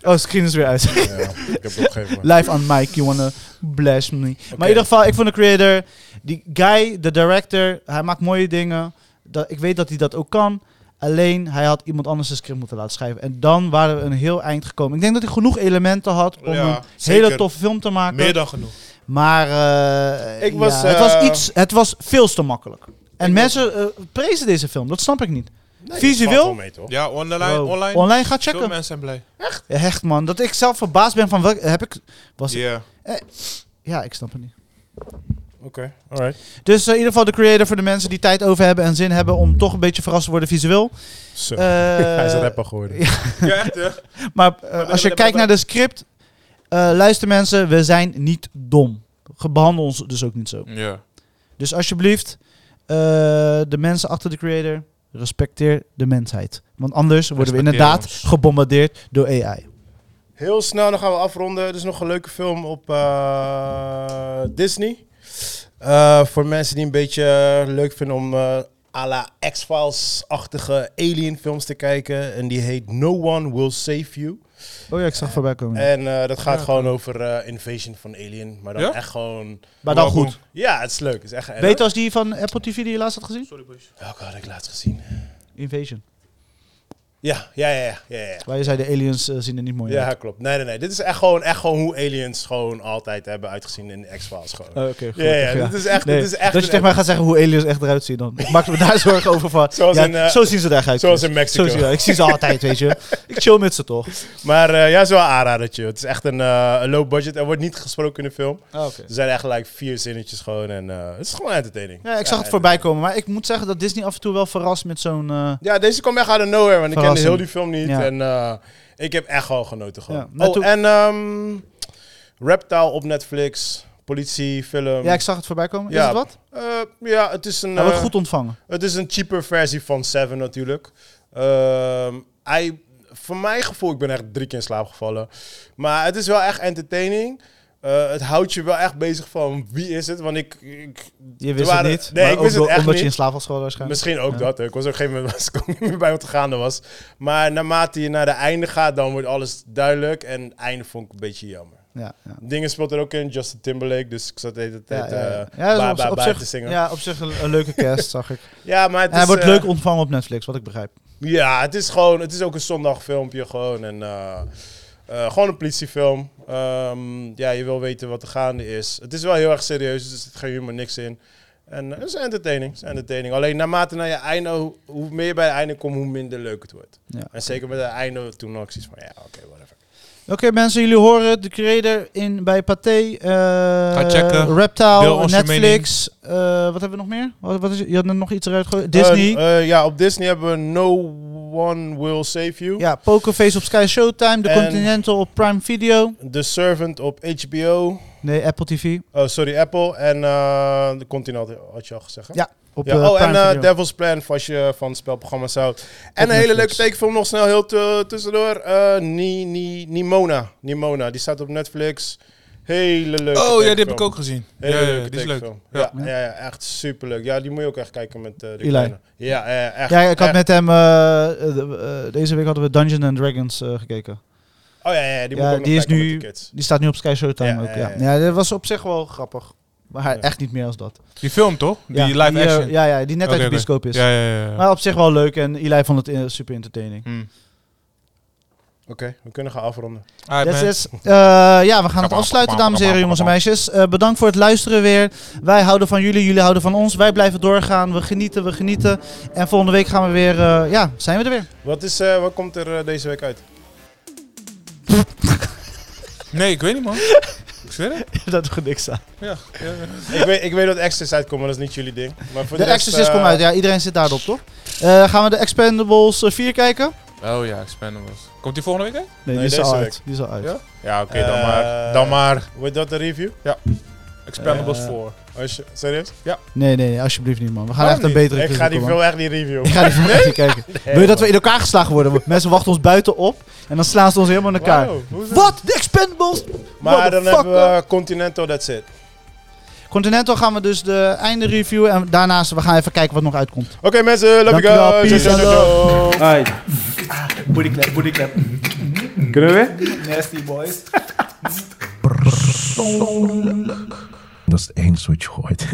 zo. Oh, screen is weer uit.
Ja, ik heb op een gegeven moment.
live on mic, you wanna blast me. Maar in ieder geval, ik vond de creator, die guy, de director, hij maakt mooie dingen. Dat, ik weet dat hij dat ook kan. Alleen, hij had iemand anders een script moeten laten schrijven. En dan waren we een heel eind gekomen. Ik denk dat hij genoeg elementen had om
Ja,
een
zeker.
hele toffe film te maken.
Meer dan genoeg.
Maar eh,
Ik was,
ja, het, was
eh,
iets, het was veel te makkelijk. En mensen eh, prezen deze film, dat snap ik niet.
Nee,
(laughs) Visueel?
valt wel mee, toch?
Ja, online.
Bro,
online.
online gaat
Veel
checken.
mensen zijn blij.
Ja, Echt man, dat ik zelf verbaasd ben van welk heb ik was ik-
(laughs)
Ja.
ja ik snap het niet.
Oké, alright.
Dus eh, in ieder geval de creator voor de mensen die tijd over hebben en zin hebben om toch een beetje verrast te worden visueel.
Zo.
Eh,
(laughs) hij is rapper Oh, geworden. Ja,
Ja, echt hè?
maar eh, als je kijkt naar de script, eh, luister mensen, we zijn niet dom. Ge- Behandel ons dus ook niet zo.
Ja.
Dus alsjeblieft, eh, de mensen achter de creator, respecteer de mensheid. Want anders worden we
Respecteer
inderdaad
ons.
gebombardeerd door AI.
Heel snel, dan gaan we afronden. Er is nog een leuke film op eh, Disney. Eh, voor mensen die een beetje leuk vinden om eh à la X-Files-achtige alien films te kijken. En die heet No One Will Save You.
Oh ja, ik zag voorbij komen.
En eh, dat gaat gewoon over eh, invasion van alien. Maar dan
Ja?
echt gewoon...
maar dan goed.
Ja, het is leuk. Het is echt...
Beter als die van Apple TV die je laatst had gezien?
Sorry boys.
Welke had ik laatst gezien?
Invasion.
Ja, ja, ja, ja, ja, ja.
Waar je zei, de aliens eh, zien er niet mooi
Ja,
uit.
klopt. Nee, nee, nee. Dit is echt gewoon, echt gewoon hoe aliens gewoon altijd hebben uitgezien in de X-Files. Gewoon.
Oh, Oké,
ja, ja,
gelukkig, ja.
Dit is echt,
(laughs) Nee,
dit is echt
dat je
een-
tegen mij gaat zeggen hoe aliens echt eruit zien, dan maak ik me daar (laughs) zorgen over van.
Zoals
ja,
in, eh,
zo zien ze eruit.
zoals
Chris.
in Mexico.
Zo zien ze- ik zie ze altijd, weet je. Ik chill met ze
(laughs)
toch.
Maar eh, ja, is wel een aanradertje. Het is echt een eh, een low budget. Er wordt niet gesproken in de film. Er zijn echt like vier zinnetjes gewoon. En eh, het is gewoon entertaining.
Ja, ik zag het
en-
voorbij komen, maar ik moet zeggen dat Disney af en toe wel verrast met zo'n... eh,
Ja, deze kwam echt out of nowhere, want ik kende
Verrassing.
heel die film niet.
Ja.
En eh, ik heb echt gewoon genoten. Gewoon.
Ja, net
oh,
toen-
en ehm, Reptile op Netflix, politiefilm.
ja, ik zag het voorbij komen.
Ja.
Is het wat?
Eh, ja, het is een...
Hij wordt
eh,
goed ontvangen.
Het is een cheaper versie van Seven natuurlijk. Ehm, hij, voor mijn gevoel, ik ben echt drie keer in slaap gevallen. Maar het is wel echt entertaining. Eh, het houdt je wel echt bezig van wie is het. Want ik, ik
Je wist
waren-
het niet.
Nee,
maar
ik
ook
wist het
wel-
echt
Omdat
niet.
je in slaap was geworden waarschijnlijk.
misschien ook
Ja.
dat. hè. Ik was op een gegeven moment (laughs) was ik ook niet meer bij wat er gaande was. Maar naarmate je naar de einde gaat, dan wordt alles duidelijk. En het einde vond ik een beetje jammer.
Ja, ja.
Dingen speelt er ook in, Justin Timberlake. Dus ik zat de hele
Ja,
tijd
ja, ja.
eh,
Ja, dat is
ba-
op-
ba-
op
ba
zich-
te zingen. Ja,
Ja, op zich een, een
(laughs)
leuke cast, zag ik.
maar het
En hij
is,
wordt
eh,
leuk ontvangen op Netflix, wat ik begrijp.
Ja, het is gewoon, het is ook een zondagfilmpje gewoon. En eh, eh, gewoon een politiefilm. Ehm, ja, je wil weten wat er gaande is. Het is wel heel erg serieus, dus er zit geen humor, niks in. En eh, het is entertaining, het is entertaining. Alleen naarmate naar je einde, hoe- hoe meer je bij het einde komt, hoe minder leuk het wordt.
Ja.
En zeker met het einde, toen had ik zoiets van, ja, oké, whatever.
Oké mensen, jullie horen het. de creator in, bij Pathé. eh,
checken. Deel
Reptile,
ons je
Netflix. eh, wat hebben we nog meer? Wat, wat is, je had er nog iets eruit gegooid. Disney.
Eh, eh, ja, op Disney hebben we No One Will Save You.
ja, Pokerface op Sky Showtime. The
En-
Continental op Prime Video.
The Servant op HBO.
Nee, Apple TV.
Oh, sorry, Apple. En eh de Continent had je al gezegd, hè?
Ja, op
Ja,
eh,
oh, en
Prime
eh,
Video.
Devil's Plan, als je eh, van spelprogramma's houdt. En een hele
Netflix.
leuke tekenfilm nog snel heel tu- tussendoor. Eh Ni, Ni, Nimona. Nimona, die staat op Netflix. Hele leuke
Oh, ja, die heb
tekenfilm.
ik ook gezien. Ja,
Hele
ja, ja,
leuke
die is leuk.
tekenfilm. Ja, ja. ja, echt superleuk. Ja, die moet je ook echt kijken met eh de
Eli.
kleine. Ja, eh, echt.
ja, ik had
echt.
met hem... eh, eh, de- eh, deze week hadden we Dungeons and Dragons eh, gekeken.
Oh ja, ja, ja, die
Ja,
moet ik ook
die
nog
is
kijken
nu-
met de kids.
Die staat nu op Sky Showtime
Ja,
ook.
ja,
Ja.
ja,
Ja. dat was op zich wel grappig. Maar echt niet meer als dat.
Die film toch? Die
ja,
live
eh,
action.
Ja, ja, die net
Oké,
uit de
oké.
bioscoop is.
Ja, ja, ja. ja.
Maar op zich wel leuk en Eli vond het eh, super entertaining.
Hmm.
Oké, we kunnen gaan afronden.
Alright,
That's
man.
it. Eh, ja, we gaan het afsluiten, dames en heren, jongens en meisjes. Eh, bedankt voor het luisteren weer. Wij houden van jullie, jullie houden van ons. Wij blijven doorgaan. We genieten, we genieten. En volgende week gaan we weer. eh, ja, zijn we er weer.
Wat, is, eh, wat komt er eh, deze week uit?
Nee, ik weet niet, (laughs) man. ik zweer het.
(laughs) dat doet niks aan.
Ja. ja, ja.
ik, weet, ik weet dat Exorcist uitkomt, maar dat is niet jullie ding. Maar voor
De
de rest,
Exorcist
eh,
komt uit. Ja, iedereen zit daarop, toch? Eh, gaan we de Expendables eh, 4 kijken?
Oh ja, Expendables. Komt die volgende week uit?
Nee,
Nee,
die, is al
deze
uit.
week.
die is al uit.
Ja? Ja, oké,
Eh,
dan maar. Dan maar.
Wordt dat een review?
Expendables
eh,
4.
Als je, serieus?
Nee, nee, nee, alsjeblieft niet, man. We gaan
Waarom
echt een
niet?
betere
Ik
keuze
ga die
komen.
film echt niet reviewen.
Ik ga
(laughs)
die film echt niet kijken. Wil je dat we in elkaar geslagen worden? Mensen wachten ons buiten op en dan slaan ze ons helemaal in elkaar.
Wow, hoezo?
Wat? De Expendables?
Maar dan
Motherfucker.
hebben we Continental, that's it.
Continental gaan we dus de einde review en daarnaast we gaan even kijken wat nog uitkomt.
Oké mensen, love you
Dankjewel,
guys.
peace
Ciao, ciao,
and
ciao.
Hi,
Bootyclap, bootyclap.
kunnen we weer?
Nasty boys.
Dat is één switch gooit.